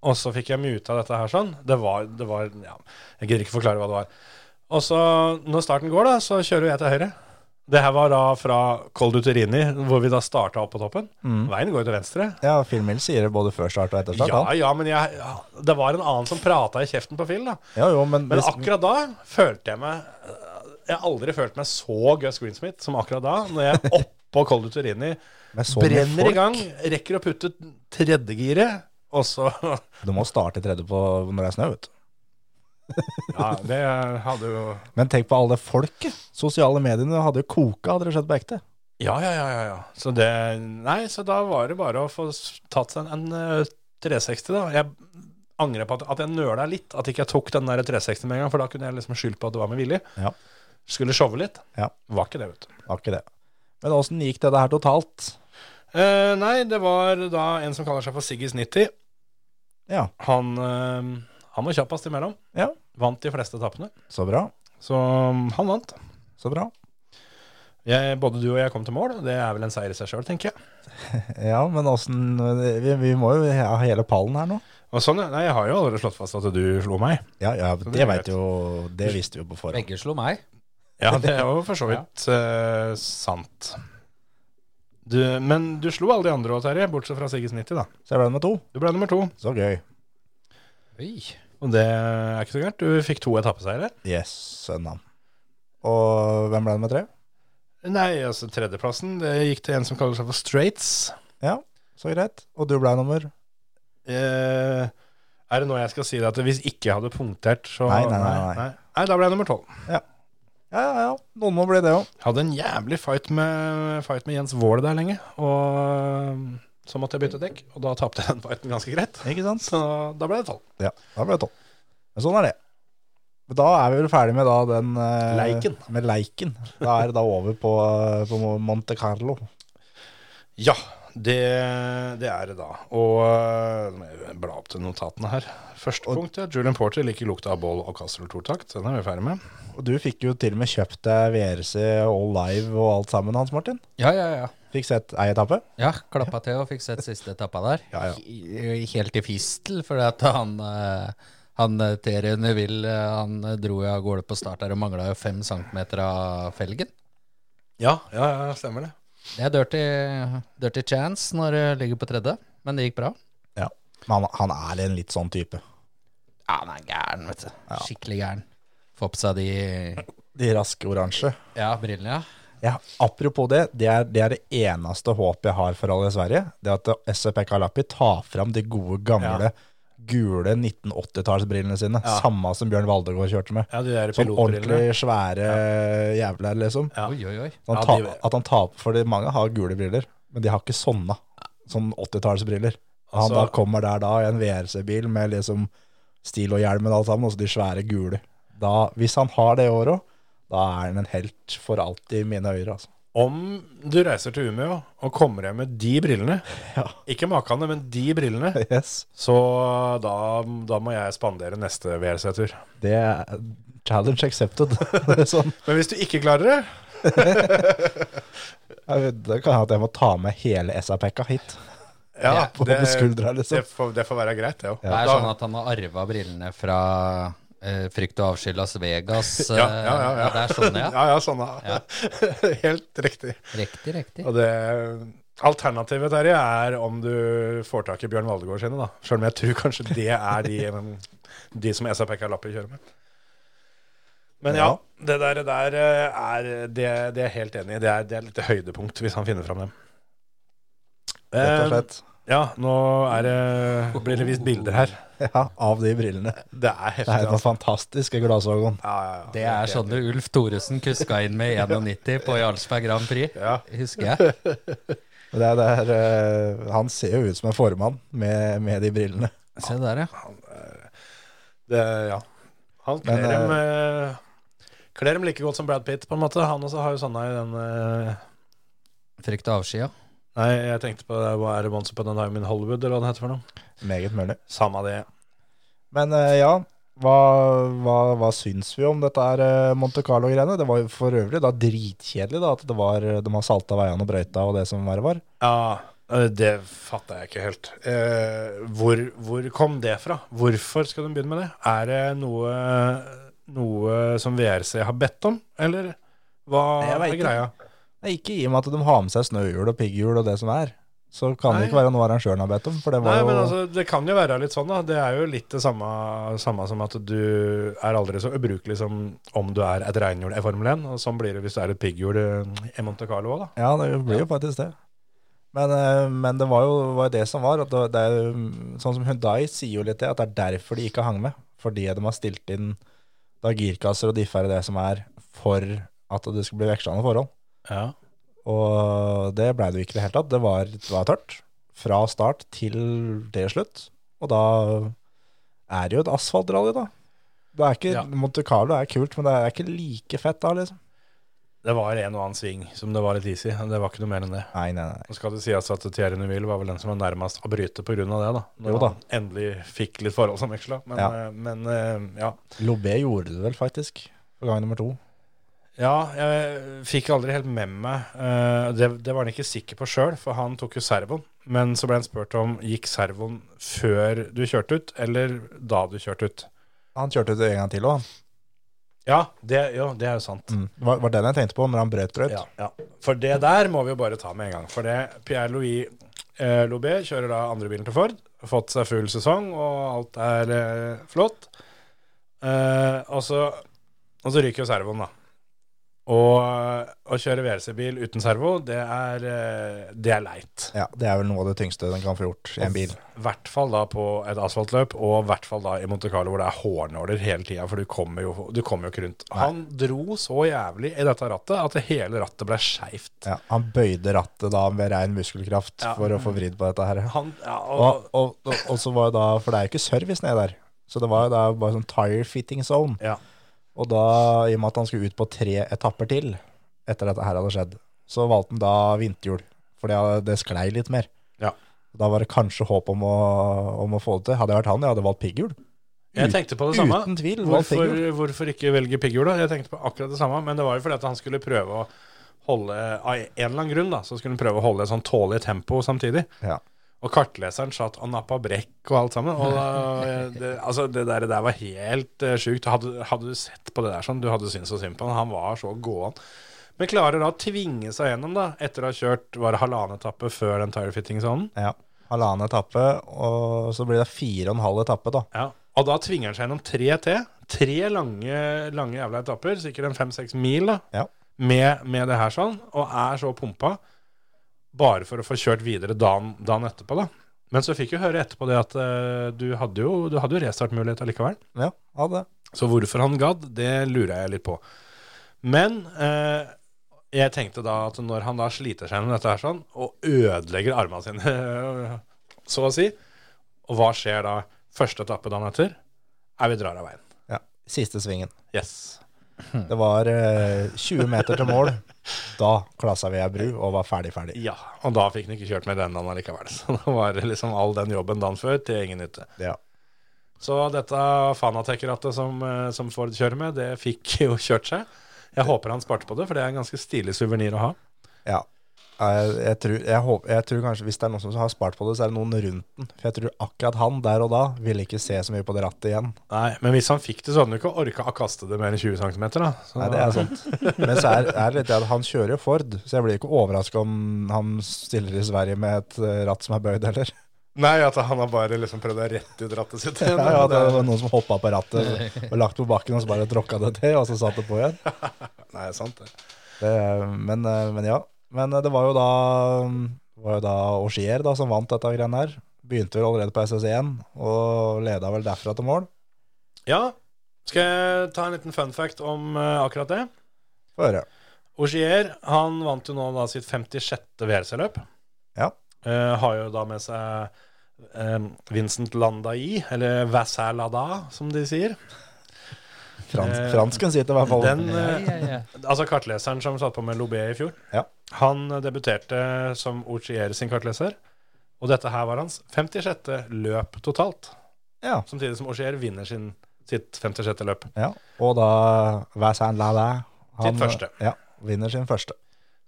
Og så fikk jeg muta dette her sånn. Det var, det var ja, Jeg gidder ikke forklare hva det var. Og så, når starten går, da, så kjører jeg til høyre. Det her var da fra Col Duterini, hvor vi da starta opp på toppen. Veien går jo til venstre.
Ja, Phil Mills sier det både før start og etter start.
Ja,
han.
ja, men jeg, ja, det var en annen som prata i kjeften på Phil, da.
Ja, jo, men,
Men
hvis,
akkurat da følte jeg meg Jeg har aldri følt meg så Gus Greensmith som akkurat da, når jeg er oppå Col Duterini
med så mye
brenner i
folk
gang, rekker å putte tredjegiret, og så
Du må starte tredje på når det er snø, vet du.
Ja, det hadde jo
Men tenk på alle folket. Sosiale mediene hadde jo koka, hadde det skjedd på ekte.
Ja, ja, ja. ja, ja. Så det Nei, så da var det bare å få s- tatt en, en eh, 360, da. Jeg angrer på at, at jeg nøla litt, at ikke jeg tok den der 360 med en gang, for da kunne jeg liksom skyldt på at det var med vilje.
Ja.
Skulle showe litt.
Ja.
Var ikke det, vet du.
Var ikke det. Men åssen gikk det her totalt?
Eh, nei, det var da en som kaller seg for Siggis 90.
Ja.
Han, eh, han var kjappest imellom.
Ja.
Vant de fleste etappene.
Så bra.
Så um, han vant.
Så bra.
Jeg, både du og jeg kom til mål. og Det er vel en seier i seg sjøl, tenker jeg.
Ja, men åssen vi, vi må jo ha hele pallen her nå.
Og sånn, ja. nei, Jeg har jo allerede slått fast at du slo meg.
Ja, ja
det
det,
er greit.
vet jo Det visste vi jo på forhånd.
Begge slo meg.
Ja, det er jo for så vidt eh, sant. Du, men du slo alle de andre òg, Terje, bortsett fra Siggis 90, da.
Så jeg ble nummer to.
Du ble nummer to,
Så gøy.
Oi.
og det er ikke så gærent. Du fikk to etappeseiere.
Yes, søndag. Og hvem ble nummer tre?
Nei, altså tredjeplassen, det gikk til en som kaller seg for Straits.
Så greit. Og du ble nummer
Eh, er det nå jeg skal si det at hvis ikke jeg hadde punktert, så
Nei, nei, nei, nei.
Nei, da ble jeg nummer tolv.
Ja, ja, ja. Noen må bli det òg.
Hadde en jævlig fight med, fight med Jens Våle der lenge, og eh, så måtte jeg bytte dekk, og da tapte jeg den fighten ganske greit.
Ikke sant?
Så da ble det tolv.
Ja, da ble det tolv. Men sånn er det. Men Da er vi vel ferdig med da den eh,
Leiken.
Med leiken. Da er det da over på, eh, på Monte Carlo.
Ja, det, det er det da. Og eh, nå må jeg bla opp til notatene her. Første punkt er Julian Porter liker lukta av bål og Castrol tortakt. Den er vi ferdig med.
Og du fikk jo til og med kjøpt deg VRC All Live og alt sammen, Hans Martin.
Ja, ja, ja.
Fikk sett ei etappe.
Ja, klappa til og fikk sett siste etappa der.
Ja, ja.
He- Helt i fistel, for at han, eh, han eh, Terje Neville eh, han dro jo av gårde på start der og mangla jo fem centimeter av felgen.
Ja, ja, ja, stemmer det.
Det er dirty, dirty chance når du ligger på tredje, men det gikk bra.
Ja. Men han, han er en litt sånn type.
Ja, han er gæren, vet du. Skikkelig gæren. Få på seg de
De raske oransje.
Ja, brillene, ja.
Ja, apropos det, det er, det er det eneste håpet jeg har for alle i Sverige. Det at SFP Kalapi tar fram de gode, gamle, gule 1980-tallsbrillene sine. Samme som Bjørn Valdegård kjørte med.
Ja, de der
Sånn
pilotbrillene.
ordentlig svære jævler, liksom.
Ja.
Oi, oi, oi.
Så han
Ja, de-
tar- at han tar, fordi mange har gule briller, men de har ikke sånne. Sånn 80-tallsbriller. Han
Altså-
da kommer der da i en VRC-bil med liksom stil og hjelm og alt sammen, og så de svære gule. Da, hvis han har det i år òg, da er han en helt for alltid i mine øyne, altså.
Om du reiser til Umeå og kommer hjem med de brillene,
Ja.
ikke makene, men de brillene,
Yes.
så da, da må jeg spandere neste VRC-tur.
Det er challenge accepted. Det er sånn.
Men hvis du ikke klarer det,
jeg vet, det kan hende at jeg må ta med hele SAPK-a hit.
ja,
På
det,
skuldra, liksom.
det, får, det får være greit, det òg.
Det er sånn at han har arva brillene fra eh, Frykt og avsky Las Vegas. eh,
ja, ja, ja, ja.
Det er sånn, ja.
ja, ja, sånn, ja. Helt riktig.
Riktig, riktig.
Og det Alternativet Terje, er om du får tak i Bjørn Valdegård sine, da. Sjøl om jeg tror kanskje det er de, de som SAPK Lappi kjører med. Men ja, det der, det der eh, er Det, det er jeg helt enig i. Det er, det er litt høydepunkt, hvis han finner fram dem.
Rett og
Eh,
slett.
Ja, nå er det, blir det vist bilder her.
Ja, av de brillene.
Det
Det
er
er
heftig.
den
Altså.
fantastiske Glasvågon.
Ja, ja, ja.
Det er
sånn
sånne Ulf Thoresen kuska inn med 91 på Jarlsberg Grand Prix,
Ja.
husker jeg.
Det er der, eh, han ser jo ut som en formann med, med de brillene.
Se der, ja.
Det, ja. Han kler,
Men,
dem, eh, kler dem like godt som Brad Pitt, på en måte. Han også har jo sånne i den eh,
Frykt og avsky, ja.
Nei, jeg tenkte på det, hva er det Once Upon a Time in Hollywood, eller hva det heter for noe?
Meget mulig.
Samme det.
Men eh, ja, hva, hva, hva syns vi om dette her eh, Monte Carlo-greiene? Det var jo for øvrig da dritkjedelig da, at det var, de har salta veiene og brøyta og det som verre var.
Ja, eh, det fatta jeg ikke helt. Eh, hvor, hvor kom det fra? Hvorfor skal de begynne med det? Er det noe, noe som VRC har bedt om, eller hva
Jeg vet
er greia?
Nei, ikke i og med at de har med seg snøhjul og pigghjul og det som er. Så kan
Nei.
det ikke være noe arrangøren har bedt om, for det
Nei,
var
men
jo
altså, Det kan jo være litt sånn, da. Det er jo litt det samme, samme som at du er aldri så ubrukelig som om du er et reinhjul i Formel 1. Og sånn blir det hvis du er et pigghjul eh, i Monte Carlo òg, da.
Ja, det blir jo faktisk det. Men, eh, men mm, det var jo var det som var. At det, det er, jo- sånn som Hyundai sier jo litt det, at det er derfor de ikke hang med. fordi de har stilt inn da girkasser og differ i det som er for at det skulle bli vekslende forhold.
Ja.
Og det blei det jo ikke i det hele tatt. Det var, det var tørt fra start til til slutt. Og da er det jo et asfaltrally, da. Det er ikke,
Ja.
Monte Carlo er kult, men det er ikke like fett da, liksom.
Det var en og annen sving som det var litt is i. Det var ikke noe mer enn det.
Nei, nei, nei.
Nå skal det sies at Thierry Neville var vel den som var nærmest å bryte pga. det, da. Når
Jo da.
han endelig fikk litt forhold som veksla. Men,
Ja.
eh, men eh, ja.
Lobé gjorde det vel faktisk for gang nummer to.
Ja, jeg fikk aldri helt med meg. eh, Det, det var han ikke sikker på sjøl, for han tok jo servoen. Men så ble han spurt om gikk servoen før du kjørte ut, eller da du kjørte ut.
Han kjørte ut en gang til òg, han.
Ja, det, jo, det er jo sant.
Mm. Det Var, var den jeg tenkte på når han brøt drøyt.
Ja, ja. For det der må vi jo bare ta med en gang. For det Pierre-Louis eh, Lobé kjører da andrebilen til Ford. har Fått seg full sesong, og alt er eh, flott. Eh, og, så, og så ryker jo servoen, da. Og eh, å kjøre WRC-bil uten servo, det er, eh, det er leit.
Ja, Det er vel noe av det tyngste den kan få gjort i en bil.
I hvert fall da på et asfaltløp, og i hvert fall da i Monte Carlo, hvor det er hårnåler hele tida, for du kommer jo, du kommer jo ikke rundt. Han dro så jævlig i dette rattet at det hele rattet ble skeivt.
Ja, han bøyde rattet da med rein muskelkraft
Ja.
for å få vridd på dette her.
Han, ja,
Og,
og,
og, og, og så var jo da, for det er jo ikke service nede der, så det var jo da bare sånn tire fitting zone.
Ja.
Og da, i og med at han skulle ut på tre etapper til etter dette her hadde skjedd, så valgte han da vinterhjul, for det, det sklei litt mer.
Ja.
Da var det kanskje håp om å, om å få det til. Hadde jeg vært han, jeg hadde valgt pigghjul.
jeg tenkte på det samme.
Uten tvil. valgt
Hvorfor,
pigghjul.
hvorfor ikke velge pigghjul, da? Jeg tenkte på akkurat det samme, men det var jo fordi at han skulle prøve å holde Av en eller annen grunn, da, så skulle han prøve å holde et sånn tålelig tempo samtidig.
Ja.
Og kartleseren satt og nappa brekk og alt sammen. Og da, det, altså, det der, det der var helt uh, sjukt. Hadde, hadde du sett på det der sånn, du hadde syntes så synd på han. Han var så gåen. Men klarer da å tvinge seg gjennom, da, etter å ha kjørt var det halvannen etappe før den tirefitting-sonen.
ja. Halvannen etappe, og så blir det fire og en halv etappe, da.
Ja, og da tvinger han seg gjennom tre til. Tre lange, lange jævla etapper, sikkert en fem-seks mil, da,
Ja.
med, med det her sånn, og er så pumpa bare for å få kjørt videre dagen, dagen etterpå, da. Men så fikk vi høre etterpå det at eh, du hadde jo, du hadde jo restartmulighet allikevel.
Ja, hadde det.
Så hvorfor han gadd, det lurer jeg litt på. Men eh, jeg tenkte da at når han da sliter seg gjennom dette her sånn, og ødelegger armene sine, så å si, og hva skjer da første etappe dagen etter? Er vi drar av veien.
Ja. Siste svingen.
Yes.
Det var eh, 20 meter til mål. Da klassa vi ei bru og var ferdig, ferdig.
Ja, og da fikk han ikke kjørt med den dagen allikevel. Så da var det liksom all den jobben dagen før til ingen nytte.
Ja.
Så dette Fanatec-rattet som, eh, som Ford kjører med, det fikk jo kjørt seg. Jeg håper han sparte på det, for det er en ganske stilig suvenir å ha.
ja. Jeg, jeg, tror, jeg, håper, jeg tror kanskje Hvis det er noen som har spart på det, så er det noen rundt den. For jeg tror akkurat han der og da ville ikke se så mye på det rattet igjen.
Nei, men hvis han fikk det, så hadde han jo ikke orka å kaste det mer enn 20 cm. Da. Så,
Nei, det er sant. Men så er, er det litt det at han kjører jo Ford, så jeg blir ikke overraska om han stiller i Sverige med et eh, ratt som er bøyd, heller.
Nei, at han har bare liksom prøvd å rette ut rattet sitt.
Ja, ja, det sånn. var noen som hoppa på rattet og lagt på bakken, og så bare tråkka det til, og så satt det på igjen.
Nei, sant det.
Det, men, eh, men ja. Men eh, det var jo da det var jo da Auxier da, som vant dette greiene her. Begynte vel allerede på SS1 og leda vel derfra til mål.
Ja, skal jeg ta en liten fun fact om eh, akkurat det?
Få høre.
Ogier, han vant jo nå da sitt 56. WRC-løp.
Ja.
Eh, har jo da med seg eh, Vincent Landai, eller Vassar Lada, som de sier.
Frans,
Eh,
fransken sitter i hvert fall.
Den,
Ja,
eh,
ja, ja.
Altså kartleseren som satt på med Lobé i fjor.
Ja.
Han debuterte som Ochier sin kartleser, og dette her var hans 56. løp totalt.
Ja.
Samtidig som Ochier vinner sin, sitt 56. løp.
ja. Og da Vassan Lala
Sitt første.
Ja, vinner sin første.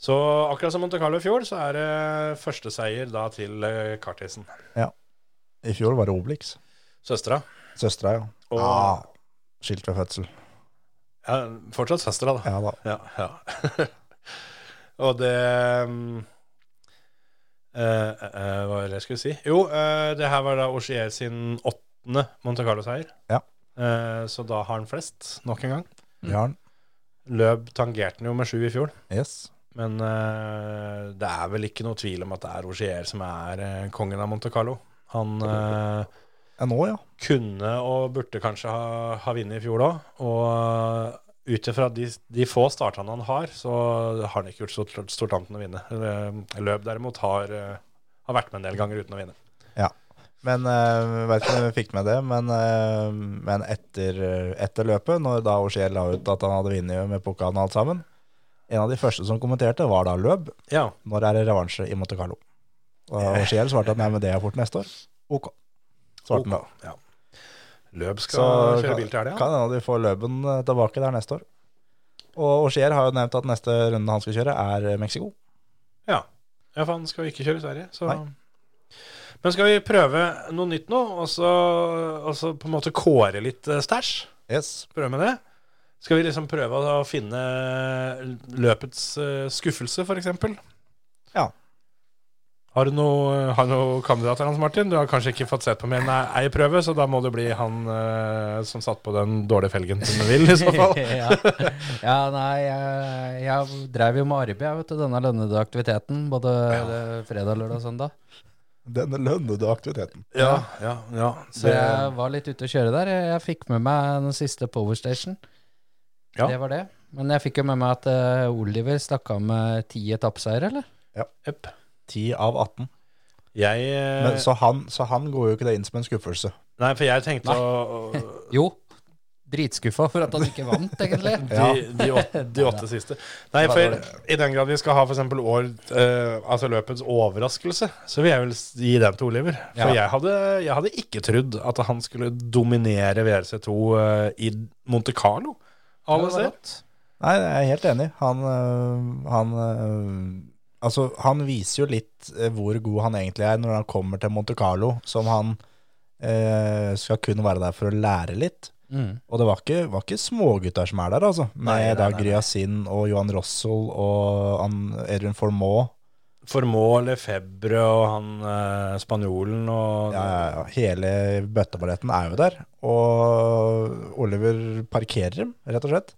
Så akkurat som Monte Carlo i fjor, så er det første seier da til eh, kartisen.
I fjor var det Obelix.
Søstera.
Søstera, ja.
Og-
Ah, skilt ved fødsel.
Ja, fortsatt søstera, da.
Ja da.
Ja, ja. og det mm, eh, eh, Hva var det jeg skulle si? Jo, eh, det her var da Ogier sin åttende Monte Carlo-seier.
Ja.
Eh, så da har han flest, nok en gang. Mm.
Bjørn.
Løb tangerte han jo med sju i fjor.
Yes.
Men eh, det er vel ikke noe tvil om at det er Ogier som er eh, kongen av Monte Carlo. Han eh,
Ja, nå, ja.
kunne og burde kanskje ha, ha vunnet i fjor òg. Og ut ifra de, de få startene han har, så har han ikke gjort stort, stort annet enn å vinne. Løp derimot har, eh, har vært med en del ganger uten å vinne.
Men eh, jeg vet ikke om jeg fikk med det, men, eh, men etter, etter løpet, når da Ogier la ut at han hadde vunnet med pokalen og alt sammen, en av de første som kommenterte, var da Løb.
Ja,
Når er det revansje i Monte Carlo?
Eh.
Og Ogier svarte at nei, men det er fort neste år. Ok. Svarte han da.
ok, Ja. Løp skal
Så
kjøre bil til helga.
kan hende de får Løben eh, tilbake der neste år. Og Ogier har jo nevnt at neste runde han skal kjøre, er eh, Mexico.
Ja. ja, for han skal jo ikke kjøre i Sverige. Så.
Nei.
Men skal vi prøve noe nytt nå, og så, og så på en måte kåre litt eh, stæsj?
Yes.
Prøve med det? Skal vi liksom prøve å finne løpets eh, skuffelse, f.eks.?
Ja.
Har du noen noe har du noe kandidater, Hans Martin? Du har kanskje ikke fått sett på mer enn ei prøve, så da må det bli han eh, som satt på den dårlige felgen til Neville, i så fall.
ja. ja, nei, jeg, jeg drev jo med arbeid, jeg, vet du, denne lønnede aktiviteten, både eh, fredag, lørdag og søndag.
Denne lønnede aktiviteten.
Ja, ja, ja.
Så jeg var litt ute å kjøre der. Jeg- Jeg fikk med meg den siste Power Station.
Ja.
Det var det. Men jeg fikk jo med meg at eh, Oliver stakk av med ti etappeseier, eller?
Jepp.
10 av 18.
Jeg eh,
Men, så, han, så han går jo ikke det inn som en skuffelse.
Nei, for jeg tenkte å å-
Jo. Dritskuffa for at han ikke vant, egentlig.
Ja.
De, de, åtte, de åtte siste. Nei, for i den grad vi skal ha f.eks. år eh, Altså løpets overraskelse, så vil jeg vel s- gi den til Oliver. For
Ja.
jeg, hadde, jeg hadde ikke trodd at han skulle dominere VRC2 eh, i Monte Carlo. Alle
Det var
ser.
rått.
Nei, jeg er helt enig. Han, øh, han øh, Altså, han viser jo litt øh, hvor god han egentlig er når han kommer til Monte Carlo, som han øh, skal kun være der for å lære litt.
Mm.
Og det var ikke, var ikke smågutter som er der, altså. Med
Nei, nei,
da
nei, nei.
Gryasin og Johan Rossel og han, Edwin Formaux.
Formål, Lefebvre og han eh, spanjolen og
Ja, ja, ja. Hele bøtteballetten er jo der. Og Oliver parkerer dem, rett og slett.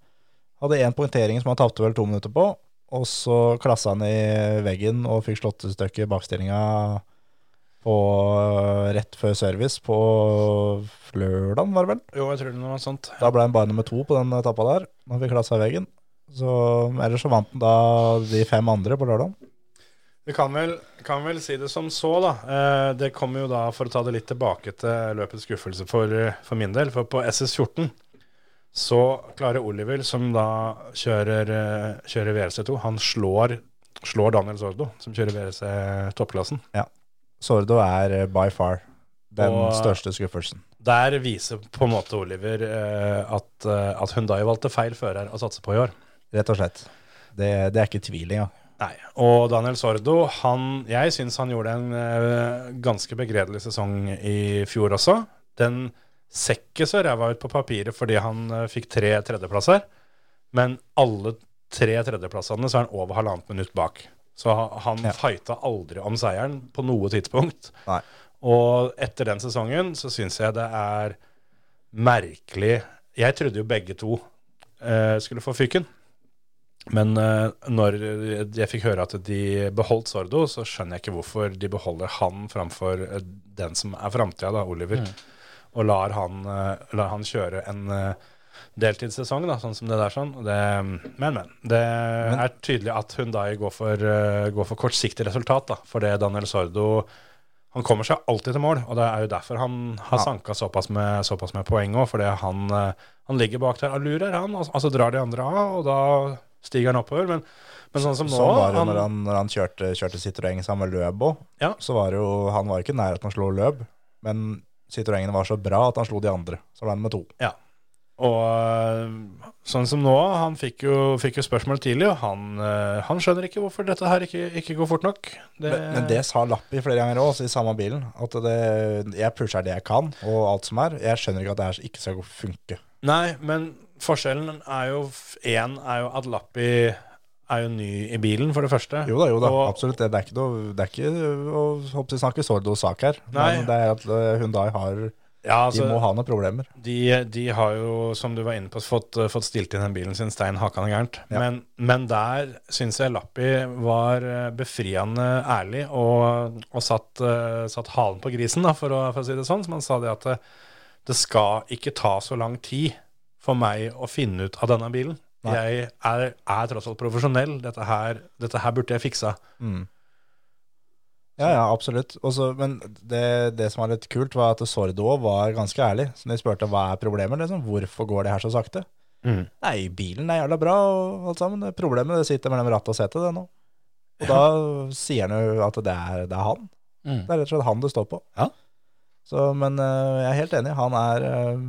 Hadde én poengtering som han tapte vel to minutter på. Og så klassa han i veggen og fikk slåttestøkket i bakstillinga på rett før service på lørdag, var det vel?
Jo, jeg tror det var noe sånt.
Da ble han bare nummer to på den etappa der. Han fikk klassa i veggen. Så ellers så vant han da de fem andre på lørdag.
Vi kan vel, kan vel si det som så, da. Eh, det kommer jo da, for å ta det litt tilbake til løpets skuffelse for, for min del, for på SS14 så klarer Oliver, som da kjører, eh, kjører VRC2, han slår, slår Daniel Sordo, som kjører VRC toppklassen.
Sordo er eh, by far den
Og-
største skuffelsen.
Der viser på en måte Oliver eh, at, eh, at Hundai valgte feil fører å satse på i år.
Rett og slett. Det, det er ikke tvil engang.
Nei. Og Daniel Sordo, han, jeg syns han gjorde en eh, ganske begredelig sesong i fjor også. Den ser ikke så ræva ut på papiret fordi han eh, fikk tre tredjeplasser, men alle tre tredjeplassene så er han over halvannet minutt bak. Så ha- han
Ja.
fighta aldri om seieren på noe tidspunkt.
Nei.
Og etter den sesongen så syns jeg det er merkelig Jeg trodde jo begge to eh, skulle få fyken. Men eh, når jeg fikk høre at de beholdt Sordo, så skjønner jeg ikke hvorfor de beholder han framfor eh, den som er framtida, da, Oliver. Og lar han, eh, lar han kjøre en eh, deltidssesong, da, sånn som det der sånn. Og Det, men, men. Det er tydelig at Hundai går for, eh, går for kortsiktig resultat, da. For det Daniel Sordo han kommer seg alltid til mål, og det er jo derfor han har
Ja.
sanka såpass med, såpass med poeng òg. Fordi han, eh, han ligger bak der og lurer, han. Og, altså drar de andre av, og da stiger han oppover. Men, men sånn som nå
Sånn var det jo
han-
når han, når han kjørte, kjørte Citroën sammen med Løb òg.
Ja.
Så var det jo, han var jo ikke nær at han slo Løb, men Citroënene var så bra at han slo de andre. Så ble han med to.
Og øh, sånn som nå, han fikk jo, fikk jo spørsmål tidlig, og han, øh, han skjønner ikke hvorfor dette her ikke, ikke går fort nok. Det,
Men, men det sa Lappi flere ganger òg, i samme bilen. At det, jeg pusher det jeg kan, og alt som er. Jeg skjønner ikke at det her ikke skal gå- funke.
Nei, men forskjellen er jo Én er jo at Lappi er jo ny i bilen, for det første.
Jo da, jo da,
Og-
absolutt. Det, det er ikke noe Det er ikke å håper jeg snakker sordo-sak her.
Nei.
Men det er at Hundai har
Ja,
De
altså,
må ha noen problemer.
De, de har jo, som du var inne på, fått, eh, fått stilt inn den bilen sin stein hakkende gærent.
Ja.
Men, men der syns jeg Lappi var eh, befriende ærlig og, og satt, eh, satt halen på grisen, da, for, å, for å si det sånn. Som han sa det at eh, det skal ikke ta så lang tid for meg å finne ut av denne bilen.
Nei.
Jeg er, er tross alt profesjonell. Dette her, dette her burde jeg fiksa.
Ja, ja, absolutt. Også, men det, det som var litt kult, var at Sordo også var ganske ærlig. Så de spurte hva er problemet, liksom. Hvorfor går det her så sakte?
Mm.
Nei, bilen er jævla bra og alt sammen. Det Problemet det sitter mellom rattet og setet, det nå. Og da sier han jo at det er, det er han.
Mm.
Det er rett og slett han det står på.
Ja.
Så, men eh, jeg er helt enig. Han er eh,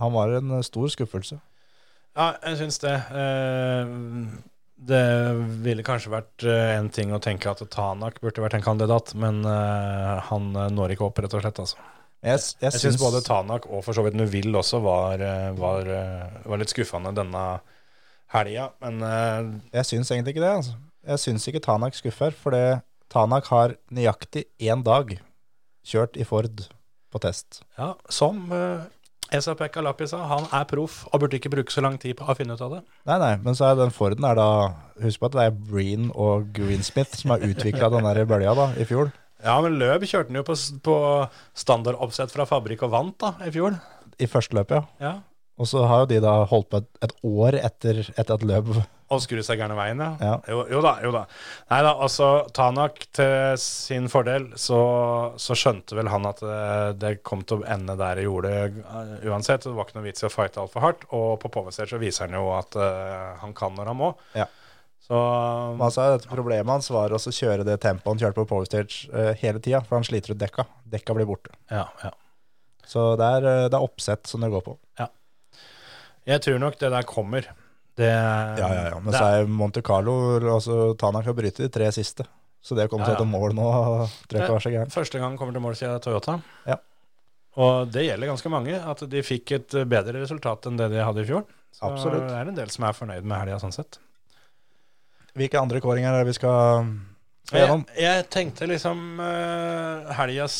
Han var en stor skuffelse.
Ja, jeg syns det. Eh, Det ville kanskje vært eh, en ting å tenke at Tanak burde vært en kandidat, men eh, han eh, når ikke opp, rett og slett. altså.
Jeg, s- jeg,
Jeg
syns
syns både Tanak og for så vidt Nuvill også var, eh, var, eh, var litt skuffende denne helga, men eh,
Jeg syns egentlig ikke det. Altså. Jeg syns ikke Tanak skuffer, for det, Tanak har nøyaktig én dag kjørt i Ford på test.
ja, som eh, Esa Pekka Lappi sa, han er proff og burde ikke bruke så lang tid på å finne ut av det.
Nei, nei, men så er den Forden er da Husk på at det er Breen og Greensmith som har utvikla den der bølja da, i fjor.
Ja, men Løb kjørte han jo på, s- på standardoppsett fra fabrikk og vant da, i fjor.
I første løpet, ja.
Ja,
Og så har jo de da holdt på et, et år etter, etter et løp.
Og skru seg gærne veien, ja.
Ja.
Jo, jo da, jo da. Nei da, altså Tanak til sin fordel, så, så skjønte vel han at det, det kom til å ende der det gjorde eh, uansett. Det var ikke noe vits i å fighte altfor hardt. Og på Povestage så viser han jo at eh, han kan når han må.
Ja.
Så
Men altså, dette Problemet hans var også å kjøre det tempoet han kjørte på Power Stage eh, hele tida, for han sliter ut dekka. Dekka blir borte.
ja, ja.
Så det er, eh, det er oppsett som det går på.
Jeg tror nok det der kommer. Det,
Ja, ja, ja. Men
det,
så er Monte Carlo altså, Tanak har brytet de tre siste. Så det å komme
Ja, ja.
seg til mål nå tror jeg ikke var så gærent.
Første gang kommer til mål siden Toyota.
Ja.
Og det gjelder ganske mange, at de fikk et eh, bedre resultat enn det de hadde i fjor. Så
Absolutt.
det er en del som er fornøyd med helga sånn sett.
Hvilke andre kåringer er det vi skal, skal
Jeg,
gjennom?
jeg tenkte liksom uh, helgas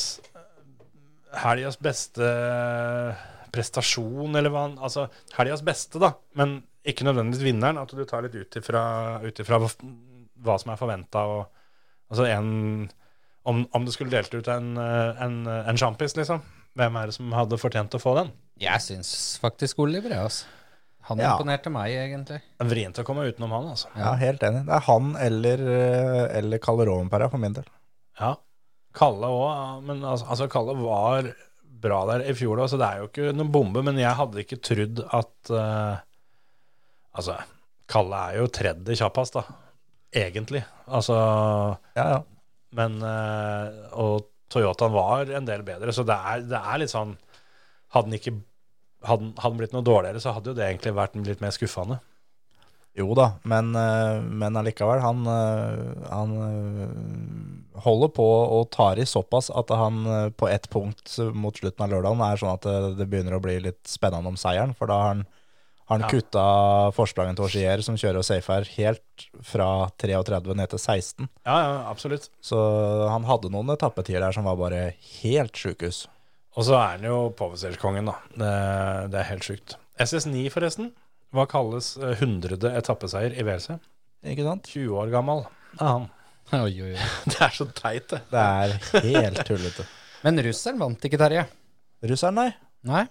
helgas beste eh, prestasjon, eller hva han Altså helgas beste, da, men ikke nødvendigvis vinneren. At du tar litt ut ifra, ut ifra hva, hva som er forventa, og altså en om, om du skulle delt ut en, eh, en, en sjampis, liksom. Hvem er det som hadde fortjent å få den?
Jeg syns faktisk Oliver, jeg, altså. Han
Ja.
imponerte meg, egentlig.
Det er Vrient å komme utenom han, altså.
Ja, helt enig. Det er han eller, eh, eller Calderón Pera for min del.
Ja. Kalle òg, men altså, altså Kalle var bra der i fjor òg, så det er jo ikke noen bombe. Men jeg hadde ikke trodd at eh, Altså, Kalle er jo tredje kjappest, da. Egentlig. Altså
Ja, ja.
Men eh, Og Toyotaen var en del bedre, så det er, det er litt sånn Hadde den ikke hadde, den- hadde den blitt noe dårligere, så hadde jo det egentlig vært litt mer skuffende.
Jo da, men, eh, men allikevel, han, eh, han eh, holder på og tar i såpass at han eh, på ett punkt mot slutten av lørdagen er sånn at eh, det begynner å bli litt spennende om seieren, for da har han, har han
Ja.
kutta forsprangen til Ogier, som kjører og safer, helt fra 33 ned til 16.
Ja, ja, absolutt.
Så han hadde noen etappetider der som var bare helt sjukehus.
Og så er han jo Povestage-kongen, da. Det, det er helt sjukt. SS9, forresten. Hva kalles eh, 100. etappeseier i WRC?
Ikke sant?
20 år gammel er han.
Oi, oi, oi.
Det er så teit, det.
Det er helt tullete.
Men russeren vant ikke, Terje.
Russeren, nei.
Nei?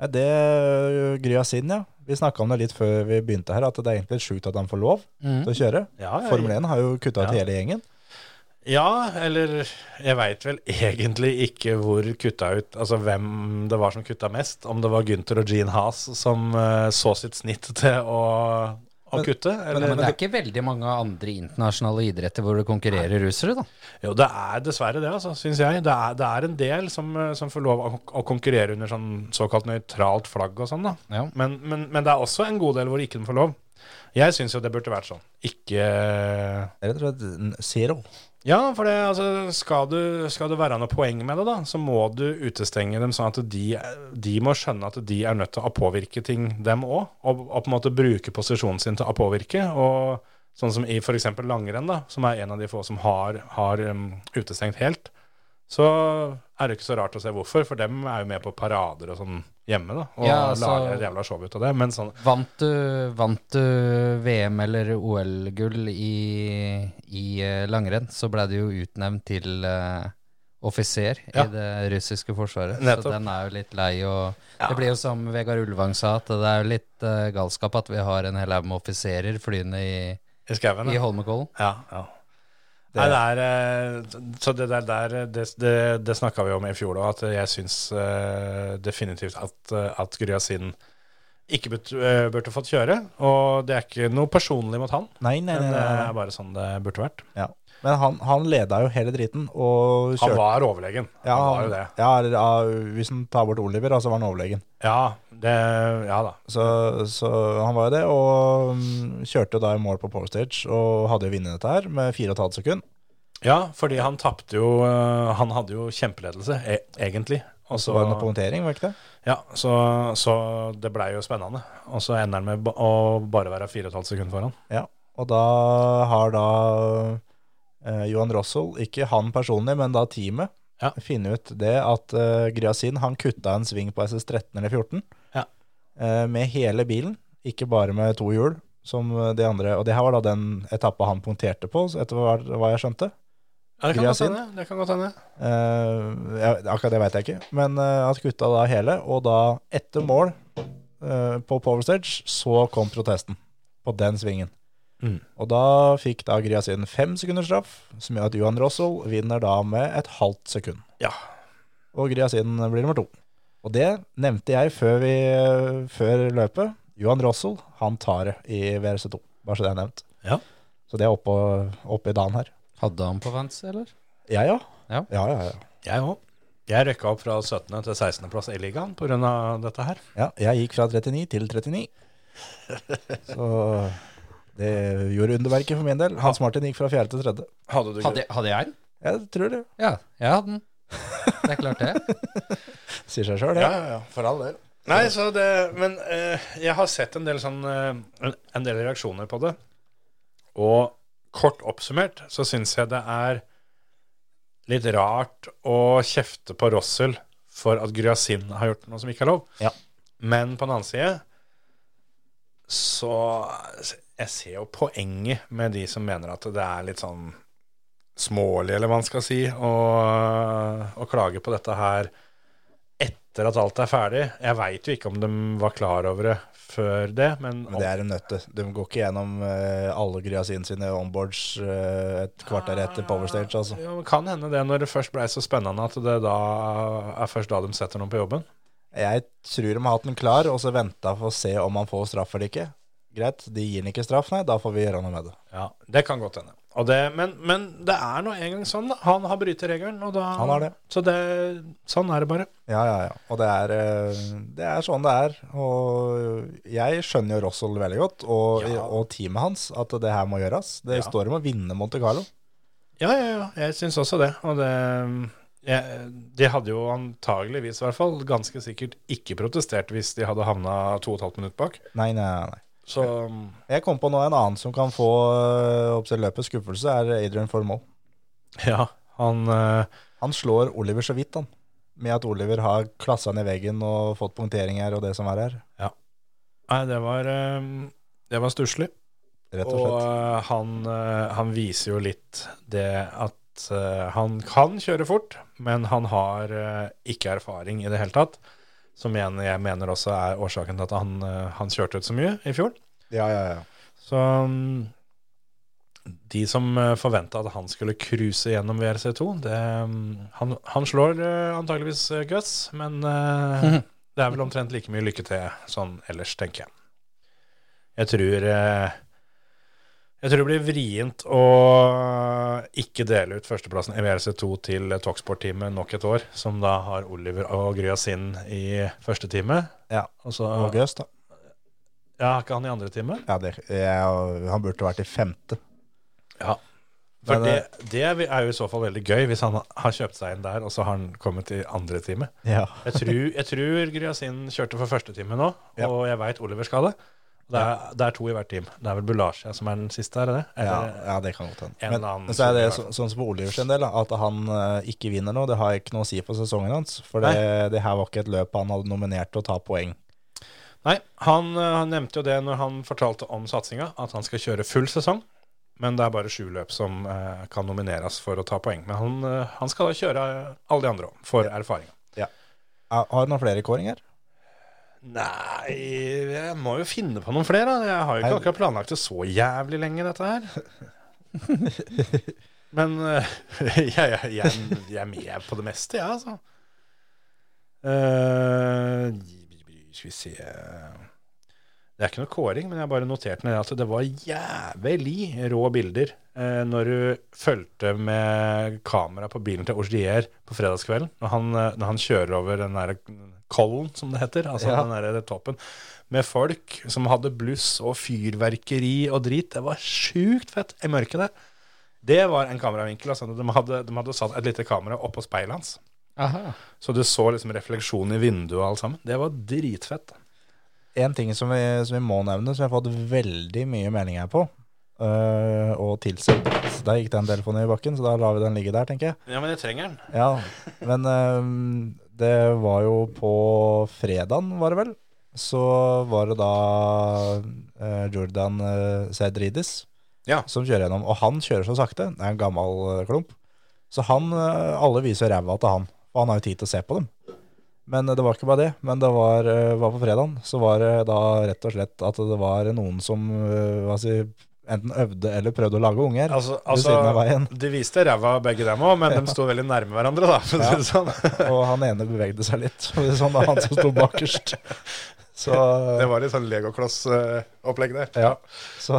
Nei, Det øh, grya sin, ja. Vi snakka om det litt før vi begynte her, at det er egentlig litt sjukt at han får lov til å kjøre.
Ja, ja,
Formel 1 har jo kutta ut
Ja.
hele gjengen.
Ja, eller jeg veit vel egentlig ikke hvor kutta ut Altså hvem det var som kutta mest. Om det var Gunther og Gene Haas som eh, så sitt snitt til å, å
Men-
kutte. Eller?
Men det er ikke veldig mange andre internasjonale idretter hvor det konkurrerer russere, da.
Jo, det er dessverre det, altså, syns jeg. Det er, det er en del som, eh, som får lov å, å konkurrere under sånn såkalt nøytralt flagg og sånn, da.
Ja.
Men, men, men det er også en god del hvor ikke de får lov. Jeg syns jo det burde vært sånn. Ikke
Rett og slett n- zero.
Ja, for det, altså, skal, du, skal det være noe poeng med det, da, så må du utestenge dem sånn at de, de må skjønne at de er nødt til å påvirke ting, dem òg. Og, og på en måte bruke posisjonen sin til å påvirke. og Sånn som i f.eks. langrenn, da, som er en av de få som har, har um, utestengt helt. så er det ikke så rart å se hvorfor, for dem er jo med på parader og sånn hjemme, da, og
Ja, altså-
lager et jævla show ut av det. Men sånn
Vant du, vant du VM eller OL-gull i, i eh, langrenn, så ble du jo utnevnt til eh, offiser
Ja.
i det russiske forsvaret.
Nettopp.
Så den er jo litt lei. Og Det blir jo som Vegard Ulvang sa, at det er jo litt eh, galskap at vi har en hel haug med offiserer flyende i,
i skauen.
i
da.
Holmenkollen.
Ja, ja. Nei, det er, eh, så det der, der det, det, det snakka vi om i fjor òg, at jeg syns eh, definitivt at, eh, at Gryasin ikke but- eh, burde fått kjøre. Og det er ikke noe personlig mot han,
Nei, nei,
men
nei.
det
nei,
er
nei.
bare sånn det burde vært.
Ja. Men han, han leda jo hele driten og
Han
kjørte.
var overlegen. Han var jo det.
ja, eller, ja, hvis han tar bort Oliver, da, så var han overlegen.
Ja, det, ja da.
Så, så han var jo det, og mm, kjørte jo da i mål på pole stage og hadde jo vunnet dette her med 4,5 sekund.
Ja, fordi han tapte jo eh, Han hadde jo kjempeledelse, e egentlig. Og
Så var det noe punktering, var det ikke det?
Ja, så, så det blei jo spennende. Og så ender han med ba- å bare være 4,5 sekunder foran.
Ja, og da har da eh, Johan Rossel, ikke han personlig, men da teamet,
Ja.
funnet ut det at eh, Gryasin han kutta en sving på SS13 eller 14
Ja.
eh, med hele bilen, ikke bare med to hjul som eh, de andre. Og det her var da den etappa han punkterte på, så etter hva, hva jeg skjønte.
Ja, det
kan godt
kan godt
Gryasin?
hende. Det kan godt hende.
Eh, jeg, akkurat det veit jeg ikke, men eh, at gutta da hele, og da etter mål eh, på Power Stage, så kom protesten på den svingen.
Mm.
Og da fikk da Gryasin fem sekunders straff, som gjør at Johan Rossel vinner da med et halvt sekund.
Ja.
Og Gryasin blir nummer to. Og det nevnte jeg før, vi, eh, før løpet. Johan Rossel, han tar det i VRC2, bare så det er nevnt.
Ja.
Så det er oppe, oppe i dagen her.
Hadde han på Vans, eller?
Jeg ja.
Ja.
ja, ja, ja.
Jeg òg. Jeg røkka opp fra 17. til 16.-plass i ligaen pga. dette her.
Ja, jeg gikk fra 39 til 39. Så det gjorde underverket for min del. Hans Martin gikk fra 4. til 3.
Hadde du
Hadde, hadde jeg den?
Jeg tror det.
Ja, jeg hadde den. Det er klart det.
Sier seg sjøl, det.
Ja, ja, ja. For all del. Nei, så det Men eh, jeg har sett en del sånn eh, en- En del reaksjoner på det. Og kort oppsummert så syns jeg det er litt rart å kjefte på Rossel for at Gryasin har gjort noe som ikke er lov.
Ja.
Men på den annen side så Jeg ser jo poenget med de som mener at det er litt sånn smålig, eller hva man skal si, å, å klage på dette her etter at alt er ferdig. Jeg veit jo ikke om de var klar over det før det, men,
Men det er en nøtte. De går ikke gjennom eh, alle Gryasin sine onboards eh, et kvarter etter Powerstage, altså.
Ja, men kan hende det når det først blei så spennende at det da er først da de setter noen på jobben.
Jeg tror de har hatt den klar, og så venta for å se om han får straff eller ikke. Greit, de gir den ikke straff, nei, da får vi gjøre noe med det.
Ja, Det kan godt hende. Og det, men, men det er nå engang sånn. da. Han har brytet regelen, og da
Han har det.
Så det, sånn er det bare.
Ja, ja, ja. Og det er, eh, det er sånn det er. Og jeg skjønner jo Rossel veldig godt, og,
Ja.
og teamet hans, at det her må gjøres. Det
Ja.
står om å vinne Monte Carlo.
Ja, ja, ja. Jeg syns også det. Og det jeg, De hadde jo antageligvis, i hvert fall, ganske sikkert ikke protestert hvis de hadde havna to og et halvt minutt bak.
Nei, nei, nei, nei.
Så
Jeg kom på nå en annen som kan få eh, oppsett løpet skuffelse, er Adrian Formoe.
ja, han eh,
Han slår Oliver så vidt, han. Med at Oliver har klassa ned veggen og fått punkteringer og det som er her.
Nei, det var eh, Det var stusslig.
Rett og
Og
slett.
eh, han, eh, han viser jo litt det at eh, han kan kjøre fort, men han har eh, ikke erfaring i det hele tatt. Som igjen jeg mener også er årsaken til at han, eh, han kjørte ut så mye i fjor.
Ja, ja, ja.
Så mm, de som eh, forventa at han skulle cruise gjennom VRC2 det, mm, han, han slår eh, antageligvis eh, Gus, men eh, det er vel omtrent like mye lykke til sånn ellers, tenker jeg. Jeg tror eh, jeg tror det blir vrient å ikke dele ut førsteplassen i VRC2 til Talksport-teamet nok et år, som da har Oliver og Gryasin i første time.
Ja.
Og så,
Og Gaus, da.
ja, er ikke han i andre time?
Ja, det, jeg, han burde vært i femte.
For
Men,
det, det er jo i så fall veldig gøy, hvis han har kjøpt seg inn der, og så har han kommet i andre time.
Ja.
Jeg tror, jeg tror Gryasin kjørte for første time nå,
Ja.
og jeg veit Oliver skal det. Det er, det er to i hvert team. Det er vel Bulasia som er den siste, er det det?
Ja,
Eller-
ja, det kan godt
En
hende.
annen
Men så er det
som-
så, sånn som på Olivers sin del, da, at han eh, ikke vinner nå, det har ikke noe å si på sesongen hans. For det, det her var ikke et løp han hadde nominert til å ta poeng.
Nei, han, eh, han nevnte jo det når han fortalte om satsinga, at han skal kjøre full sesong. Men det er bare sju løp som eh, kan nomineres for å ta poeng. Men han, eh, han skal da kjøre eh, alle de andre òg, for erfaringa.
Ja, Har du noen flere kåringer?
Nei, jeg må jo finne på noen flere. da. Jeg har jo ikke
Nei.
akkurat planlagt det så jævlig lenge, dette her. Men eh, jeg, jeg, jeg, jeg er med på det meste, jeg, ja, altså. Eh, skal vi se Det er ikke noe kåring, men jeg bare noterte ned at det var jævlig rå bilder eh, når du fulgte med kamera på bilen til Osdier på fredagskvelden. Når han, eh, når han kjører over den der kollen, som det heter, altså
Ja.
den der, den toppen, med folk som hadde bluss og fyrverkeri og drit. Det var sjukt fett i mørket, det. Det var en kameravinkel. Altså. De, hadde, de hadde satt et lite kamera oppå speilet hans.
Aha.
Så du så liksom refleksjonen i vinduet og alt sammen. Det var dritfett.
En ting som vi, som vi må nevne, som vi har fått veldig mye meldinger på, eh, og tilsendt Der gikk den telefonen i bakken, så da lar vi den ligge der, tenker jeg.
Ja, men jeg trenger den.
Ja, men ehm, det var jo på fredagen, var det vel? Så var det da eh, Jordan uh, Sedridis
Ja.
som kjører gjennom. Og han kjører så sakte. Det er en gammel eh, klump. Så han, eh, alle viser ræva til han. Og han har jo tid til å se på dem. Men eh, det var ikke bare det. Men det var, eh, var på fredagen. Så var det da rett og slett at det var noen som eh, hva skal jeg si, enten øvde eller prøvde å lage unger
Altså,
ved siden av
altså
veien.
de viste ræva begge dem òg, men de sto veldig nærme hverandre, da. For å si det sånn.
Og han ene bevegde seg litt. og det er Sånn da han som sto bakerst. Så,
Det var litt sånn legokloss-opplegg der.
ja, så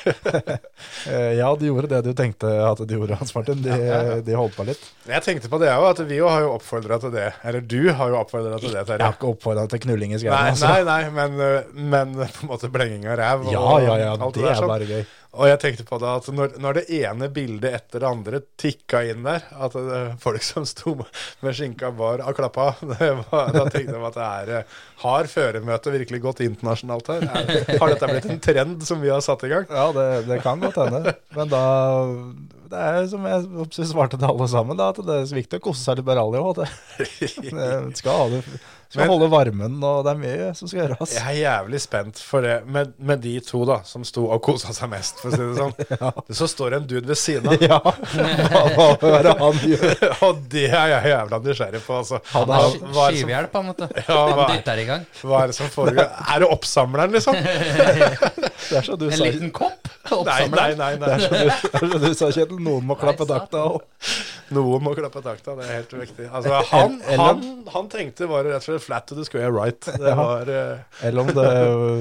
Eh, Ja, de gjorde det du tenkte at de gjorde, Hans Martin. De, de holdt på litt.
Jeg tenkte på det òg, at vi jo har jo oppfordra til det. Eller du har jo oppfordra til det,
Jeg
Terje.
har ikke oppfordra til knulling i
Nei,
skauen. Altså.
nei, nei, men, øh, men på en måte blenging av ræv og
Ja, ja, ja.
alt
Det
der
er
sånn.
bare gøy.
Og jeg tenkte på det at når, når det ene bildet etter det andre tikka inn der, at det, folk som sto med skinka bar av klappa, det var, da tenkte jeg at det er eh, Har føremøtet virkelig gått internasjonalt her? Er, har dette blitt en trend som vi har satt i gang?
Ja, det, det kan godt hende. Men da Det er som jeg oppsett svarte til alle sammen, da, at det er så viktig å kose seg litt med rally òg. Skal, ha det- skal
Men-
holde varmen, og det er mye som skal gjøres.
Jeg er jævlig spent for det med, med de to da, som sto og kosa seg mest, for å si det sånn. Så står det en dude ved siden av.
Ja, hva, hva er det han gjør?
Og det er jeg jævla nysgjerrig på, altså.
Han
Hva-
har sk-
hva er det som-
skyvehjelp, han, vet du.
Ja,
Han
hva-
dytter i gang.
Hva er det som foregår? Er det oppsamleren, liksom?
Det er så du
En
sa-
liten kopp?
Nei,
Oppsamler
nei,
den.
nei.
Det
nei.
er som du, det er som du sa, Kjetil. Noen må klappe
Nei,
takta òg.
Noen må klappe takta, det er helt viktig. Altså,
Eh,
han, han, han tenkte bare rett og slett flat to the square right. Det var eh,
Eller om det,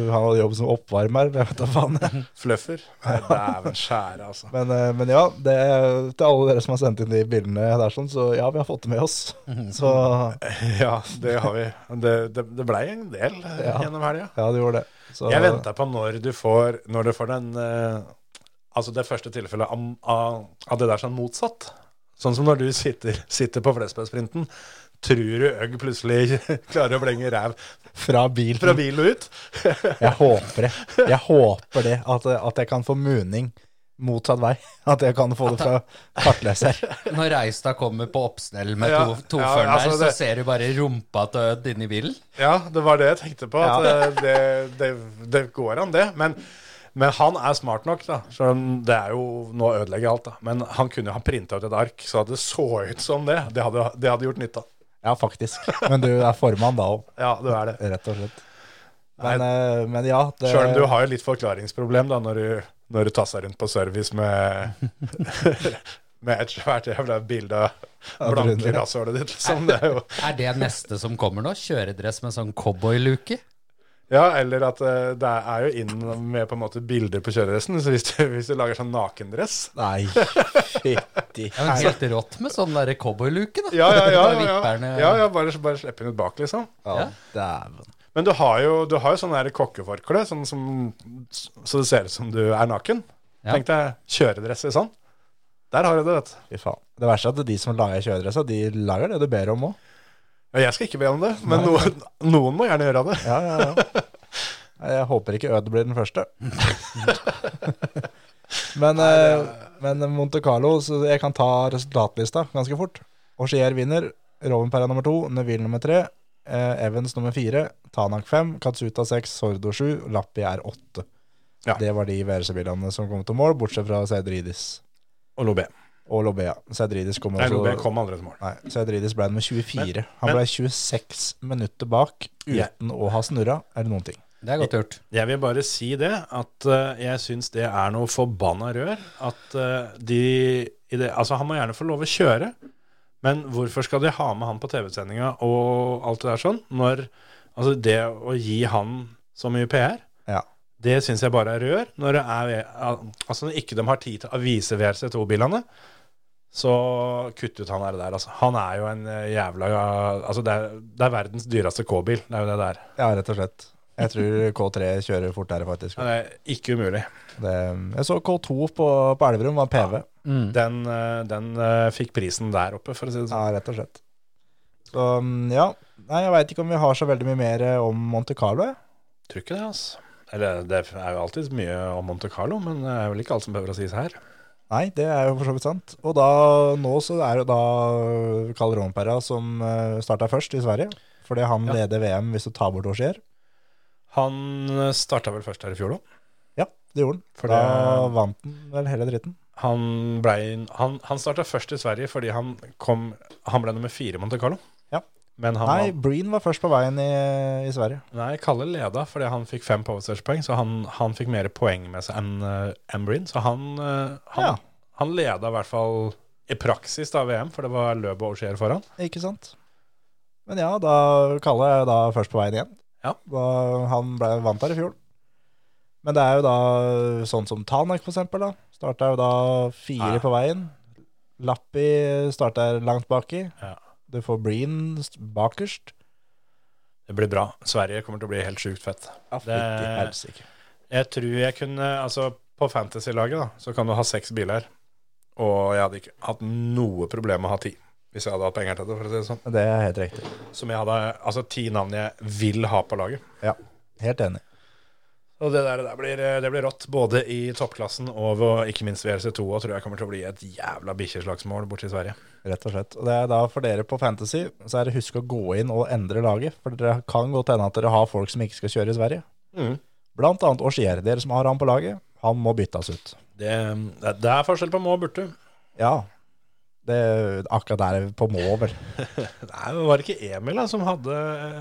han hadde jobb som oppvarmer. Jeg vet da faen.
fluffer. Nei, Dæven skjære, altså.
Men, eh, men ja, det, til alle dere som har sendt inn de bildene der, sånn, så ja, vi har fått det med oss. Så
Ja, det har vi. Det, det, det blei en del eh,
Ja.
gjennom helga.
ja, du gjorde det. Så,
Jeg venta på når du får, når du får den eh, Altså det første tilfellet av, av, av det der sånn motsatt. Sånn som når du sitter, sitter på Flesbergsprinten. Tror du Øgg plutselig klarer å blenge ræv
Fra bilen.
fra bilen og ut?
Jeg håper det. Jeg håper det. At, at jeg kan få muning motsatt vei. At jeg kan få det fra kartleser.
Når Reistad kommer på oppsnell med
Ja,
to,
ja,
toføren
altså
der,
det-
så ser du bare rumpa til Ødd inni bilen.
Ja, det var det jeg tenkte på. At eh, det, det, det går an, det. Men, men han er smart nok, da. Så det er jo Nå ødelegger jeg alt, da. Men han kunne jo ha printa ut et ark, så det så ut som det. Det hadde, det hadde gjort nytta.
Ja, faktisk. Men du er formann da òg,
Ja, du er det.
rett og slett. Men, eh, men ja det,
Sjøl om du har jo litt forklaringsproblem da, når du, når du tasser rundt på service med Med et svært jævla bilde av blanke rasshølet ditt, liksom. Det er jo
Er det neste som kommer nå? Kjøredress med sånn cowboyluke?
Ja, eller at eh, det er jo inn med på en måte bilder på kjøredressen. Så hvis du, hvis du lager sånn nakendress
Nei, fytti
Ja, men helt rått med sånn derre cowboyluke, da. eh,
Ja, ja, ja.
Bare
ja,
vipperne-
ja. ja, ja bare, bare slippe den ut bak, liksom.
Ja, dæven.
Men du har jo, du har jo sånn der kokkeforkle, sånn som, så det ser ut som du er naken.
Ja.
Tenk deg kjøredress i sånn. Der har du det, vet du.
Fy faen. Det verste er at de som lager kjøredressa, de lager det du ber om òg.
Ja, Jeg skal ikke be om det, men noen, noen må gjerne gjøre det.
Ja, ja, ja. Jeg håper ikke Øde blir den første. men, eh, men Monte Carlo, så jeg kan ta resultatlista ganske fort. Auxier vinner, Rovenpera nummer to, Neville nummer tre, eh, Evans nummer fire, Tanak fem, Katsuta seks, Sordo sju, Lappi er åtte.
Ja.
Det var de VRC-bilene som kom til mål, bortsett fra Seidridis
Og Lobé.
og Altså- Lobea. Seidridis kom
Nei, Lobé
også
kom aldri til mål.
Nei, Seidridis ble nummer 24. Han
men-
ble 26 minutter bak uten
Ja.
å ha snurra eller noen ting.
Det er godt gjort.
Jeg vil bare si det, at eh, jeg syns det er noe forbanna rør. At eh, de i det, Altså, han må gjerne få lov å kjøre, men hvorfor skal de ha med han på TV-sendinga og alt det der sånn, når Altså, det å gi han så mye PR,
Ja.
det syns jeg bare er rør. Når det er Altså, når ikke de har tid til å vise VRC2-bilene, så kutt ut han der der, altså. Han er jo en eh, jævla Altså, det er, det er verdens dyreste K-bil, det er jo det der.
Ja, rett og slett. Jeg tror K3 kjører fortere, faktisk.
Det er ikke umulig.
Det, jeg så K2 på, på Elverum var PV.
Den, eh, den eh, fikk prisen der oppe, for å si det
Mm. Ja,
sånn.
rett og slett. Så mm, ja. Nei, jeg veit ikke om vi har så veldig mye mer eh, om Monte Carlo. jeg.
Tror ikke det, altså. Eller det er jo alltid mye om Monte Carlo, men det er vel ikke alt som behøver å sies her.
Nei, det er jo for så vidt sant. Og da, nå så er det da Karl Rompera som starta først i Sverige. Fordi han
Ja.
leder VM hvis du tar bort Auxier.
Han starta vel først her i fjor, da.
Ja, det gjorde han.
For
da
det-
vant han vel hele dritten.
Han, ble- han, han starta først i Sverige fordi han, kom, han ble nummer fire i Monte Carlo.
Ja.
Men han
Nei,
vant-
Breen var først på veien i, i Sverige.
nei, Kalle leda fordi han fikk fem powersearch-poeng, så han, han fikk mer poeng med seg enn eh, enn Breen. Så han, eh, han,
Ja.
han leda i hvert fall i praksis da VM, for det var løp og Auxier foran.
Ikke sant? Men ja, da Kalle er jo da først på veien igjen.
Ja.
Da han ble vant her i fjor. Men det er jo da sånn som Tanak for eksempel da. Starta jo da fire
Ja.
på veien. Lappi starter langt baki.
Ja.
Du får Breen st- bakerst.
Det blir bra. Sverige kommer til å bli helt sjukt fett.
Ja,
fytti helsike. Jeg tror jeg kunne Altså, på fantasy-laget, da, så kan du ha seks biler. Og jeg hadde ikke hatt noe problem med å ha ti, hvis jeg hadde hatt penger til det, for å si det sånn.
Det er helt riktig.
Som jeg hadde Altså ti navn jeg vil ha på laget.
Ja, helt enig.
Og det der, det der blir, det blir rått, både i toppklassen og ved- ikke minst VRC2, og tror jeg kommer til å bli et jævla bikkjeslagsmål borti Sverige.
Rett og slett. Og det er da for dere på Fantasy, så er det husk å gå inn og endre laget. For dere kan godt hende at dere har folk som ikke skal kjøre i Sverige.
Mm.
Blant annet Auxier. Dere som har han på laget, han må byttes ut.
Det, det, det er forskjell på må og burde.
Ja. Det er akkurat der er vi på må, vel.
Nei, men Var det ikke Emil da, som hadde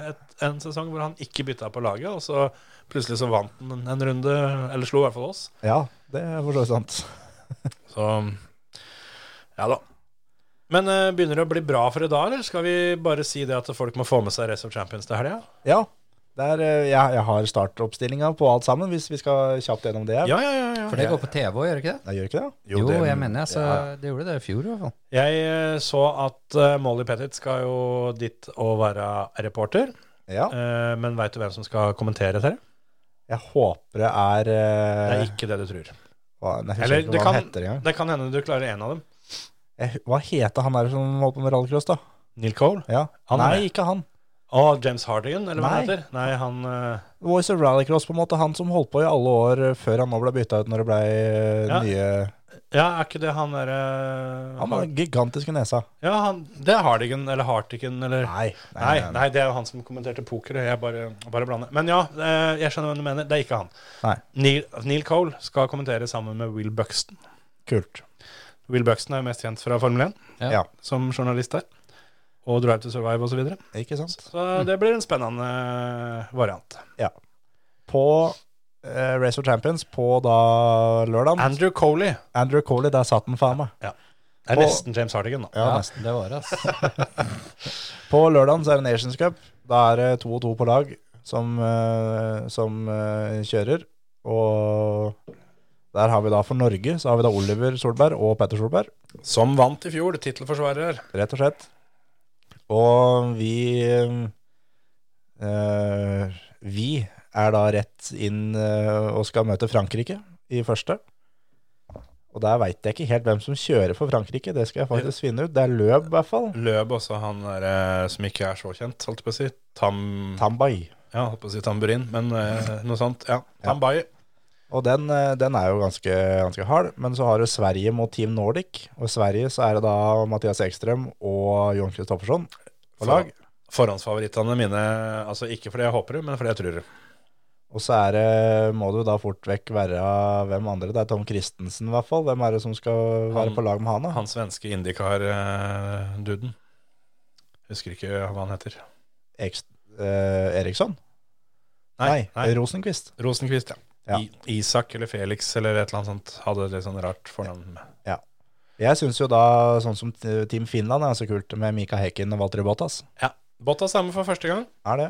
et, en sesong hvor han ikke bytta på laget, og så plutselig så vant han en, en runde, eller slo i hvert fall oss.
Ja, det er for så vidt sant.
Så ja da. Men eh, begynner det å bli bra for i dag, eller skal vi bare si det at folk må få med seg Race of Champions til helga?
Ja. Der, eh, jeg, jeg har startoppstillinga på alt sammen, hvis vi skal kjapt gjennom det.
Ja, ja, ja. ja.
For det går på TV òg, gjør det ikke det?
Jeg gjør ikke det?
Jo, jeg mener jeg, så det gjorde det i fjor i hvert fall.
Jeg eh, så at eh, Molly Pettit skal jo dit og være reporter,
Ja.
eh, men veit du hvem som skal kommentere dette?
Jeg håper det er
Det
eh,
er ikke det du tror.
hva, nei, Jeg
Eller
husker
det
ikke hva han
kan,
heter engang.
det kan hende du klarer en av dem.
Jeg- Hva heter han der som holdt på med rallycross, da?
Neil Cole.
Ja.
Han er
Nei,
med.
ikke han.
Å, James Hardigan, eller hva
Nei.
han heter? Nei, han eh,
Voice of Rallycross, på en måte. Han som holdt på i alle år eh, før han nå ble bytta ut når det ble eh,
Ja.
nye
Ja, er ikke det han derre eh,
Han har
Har-
gigantiske nesa.
Ja, han, det er Hardigan, eller Hartigan, eller nei. Nei, det er jo han som kommenterte poker, og jeg bare, bare blander. Men ja, eh, jeg skjønner hva du mener. Det er ikke han.
Nei.
Neil, Neil Cole skal kommentere sammen med Will Buxton.
Kult.
Will Buxton er jo mest kjent fra Formel 1,
Ja.
Ja.
som journalist der. Og Drive to Survive osv. Så, videre.
Ikke sant?
så det blir en spennende eh, variant.
På eh, Race of Champions på da lørdag
Andrew Coley.
Andrew Coley, der satt den faen meg.
Det er
Og-
nesten James Hardigan, da.
Ja,
Ja,
nesten.
det var det, altså.
På lørdag så er det Nations Cup. Da er det to og to på lag som, eh, som eh, kjører. Og der har vi da for Norge så har vi da Oliver Solberg og Petter Solberg.
Som vant i fjor, tittelforsvarer.
rett og slett. Og vi eh, Vi er da rett inn eh, og skal møte Frankrike i første. Og der veit jeg ikke helt hvem som kjører for Frankrike, det skal jeg faktisk finne ut. Det er Løb, i hvert fall.
Løb også, han der eh, som ikke er så kjent, holdt jeg på å si. Tam...
Tambay.
Ja, holdt på å si tamburin, men eh, noe sånt. Ja. Tambai.
Og den, eh, den er jo ganske, ganske hard. Men så har du Sverige mot Team Nordic. Og i Sverige så er det da Mathias Ekström og Jon Kristoffersson på lag.
Forhåndsfavorittene mine, altså ikke fordi jeg håper det, men fordi jeg tror det.
Og så er det, må du da fort vekk være hvem andre. Det er Tom Christensen i hvert fall. Hvem er det som skal være
Han-
på lag med han? da?
Han svenske indikar-duden. Husker ikke hva han heter.
Ekst, eh, Eriksson? Nei, Rosenqvist.
Rosenquist, ja.
Ja.
I, Isak eller Felix eller et eller annet sånt. Hadde litt sånn rart fornavn.
Jeg syns jo da sånn som t- Team Finland er så kult med Mika Hekken og Valtteri Bottas.
Ja. Bottas er med for første gang.
Er det.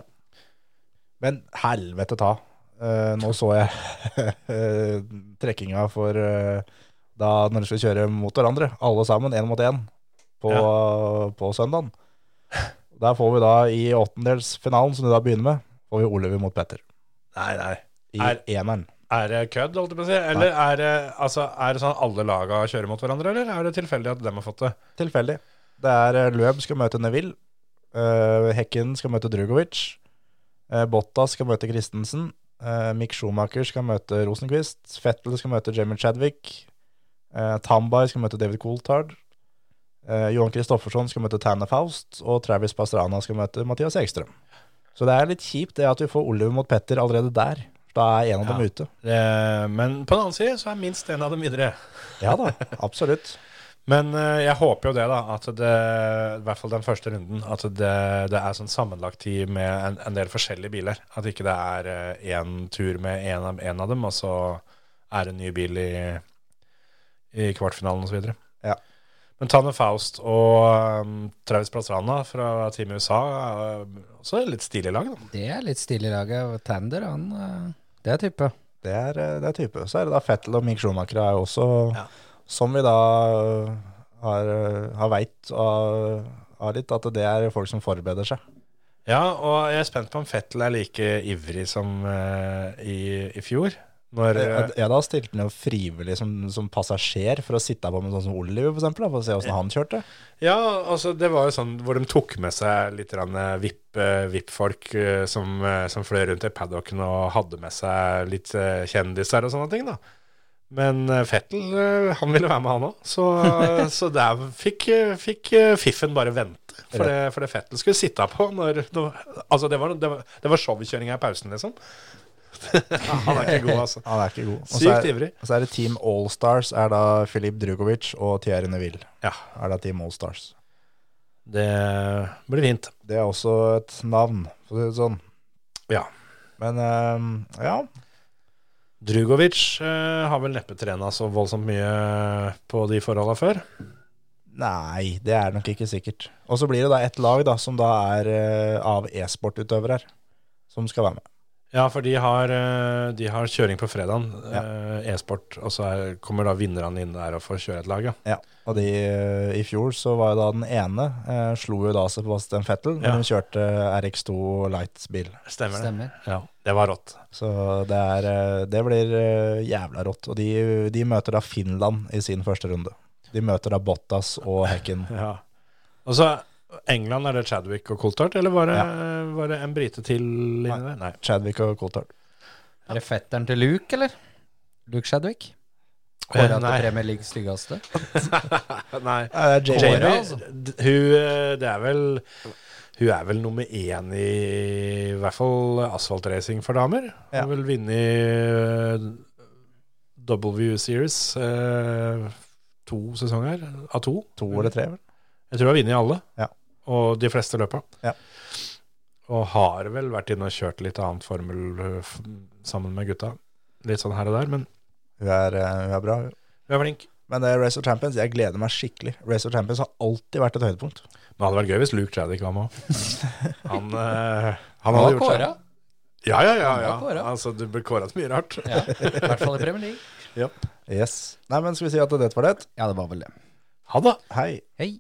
Men helvete ta. Eh, nå så jeg eh, trekkinga for eh, da når de skulle kjøre mot hverandre, alle sammen, én mot én, på, på søndagen. Der får vi da i åttendelsfinalen, som du da begynner med, får vi Oliver mot Petter.
Nei, nei.
I
Er-
eneren.
Er det kødd, holdt jeg på å si? Eller er det, altså, er det sånn alle laga kjører mot hverandre, eller er det tilfeldig at dem har fått det?
Tilfeldig. Det er eh, Løb skal møte Neville. eh, Hekken skal møte Drugovic. eh, Bottas skal møte Christensen. eh, Mick Schumacher skal møte Rosenquist. Fettel skal møte Jamie Chadwick. eh, Tambay skal møte David Coulthard. eh, Johan Kristoffersson skal møte Tanner Faust. Og Travis Pastrana skal møte Mathias Ekstrøm. Så det er litt kjipt det at vi får Oliver mot Petter allerede der. Da er en av
Ja.
dem ute.
Eh, Men på den annen side så er minst en av dem videre.
Ja da, absolutt.
Men eh, jeg håper jo det, da. At det, I hvert fall den første runden. At det, det er sånn sammenlagt tid med en, en del forskjellige biler. At ikke det er én tur med én av, en av dem, og så er det en ny bil i, i kvartfinalen osv.
Ja.
Men Tanne Faust og um, Travis Plastrana fra Team USA er eh, også litt stilig lag, da.
Det er litt stilig laget. og Tander, han eh, Det er type.
Det er, eh, det er type. Så er det da Fettel og Mick Schumacher er jo også,
Ja.
som vi da eh, har, eh, har veit av, av litt, at det er folk som forbereder seg.
Ja, og jeg er spent på om Fettel er like ivrig som eh, i, i fjor. Når, eh,
Jeg, jeg da stilte han jo frivillig som, som passasjer for å sitte på med sånn som Oliver, for eksempel, da, for å se åssen han kjørte.
Ja, altså det var jo sånn hvor de tok med seg litt grann, eh, VIP, eh, VIP-folk eh, som, eh, som fløy rundt i paddocken og hadde med seg litt eh, kjendiser og sånne ting, da. Men eh, Fettel, eh, han ville være med han òg, så, så der fikk, eh, fikk eh, fiffen bare vente. For det, for det Fettel skulle sitte på når når- Altså, det var, det var, det var showkjøringa i pausen, liksom. han er ikke god, altså.
Han er ikke god. Og så
Sykt
er-
ivrig.
Og så er det Team Allstars, er da Filip Drugovic og Thierry Neville.
Ja.
Er da Team Allstars.
Det blir fint.
Det er også et navn, for å si det sånn.
Ja.
Men eh, ja,
Drugovic eh, har vel neppe trena så voldsomt mye eh, på de forholda før.
Nei, det er nok ikke sikkert. Og så blir det da et lag da, som da er eh, av e-sportutøvere her, som skal være med.
Ja, for de har, eh, de har kjøring på fredagen,
Ja.
eh, e-sport, og så er, kommer da vinnerne inn der og får kjøre et lag, ja.
Ja, og de, eh, i fjor så var jo da den ene, eh, slo jo da Sebastian Vettel,
Ja.
men hun kjørte RX2 Lights-bil.
Stemmer det.
Stemmer.
Ja, det var rått.
Så det, er, eh, det blir eh, jævla rått. Og de, de møter da Finland i sin første runde. De møter da Bottas og Hekken.
Ja. Og så England, er det Chadwick og Coulthard, eller var det, var det en brite til inni
Nei.
der? Nei.
Chadwick og Coulthard.
Er det fetteren til Luke, eller? Luke Shadwick?
Eh,
Kåra til
nei.
Premier Leagues styggeste.
Nei.
Nei, det er Jamie.
Jamie,
altså.
d- hun, eh, det er vel Hun er vel nummer én i i hvert fall asfaltracing for damer.
Ja.
Hun vil vinne i eh, W Series eh, to sesonger av to.
To eller tre, vel?
Jeg tror hun har vunnet i alle,
Ja.
og de fleste løpa.
Ja.
Og har vel vært inne og kjørt litt annet formel eh, f sammen med gutta. Litt sånn her og der, men
Hun er, eh, hun er bra, hun.
hun er flink.
Men det er Race of Champions, jeg gleder meg skikkelig. Race of Champions har alltid vært et høydepunkt.
Men det hadde vært gøy hvis Luke Traddick var med òg. Han, eh, han
Han
hadde
var
gjort seg
kåra.
Ja, ja, ja.
var
ja.
kåret.
Altså, du ble kåra til mye rart.
Ja, I hvert fall i Premier League.
Yes. Nei, men skal vi si at dette var det?
Ja, det var vel det.
Ha det.
Hei.
Hei.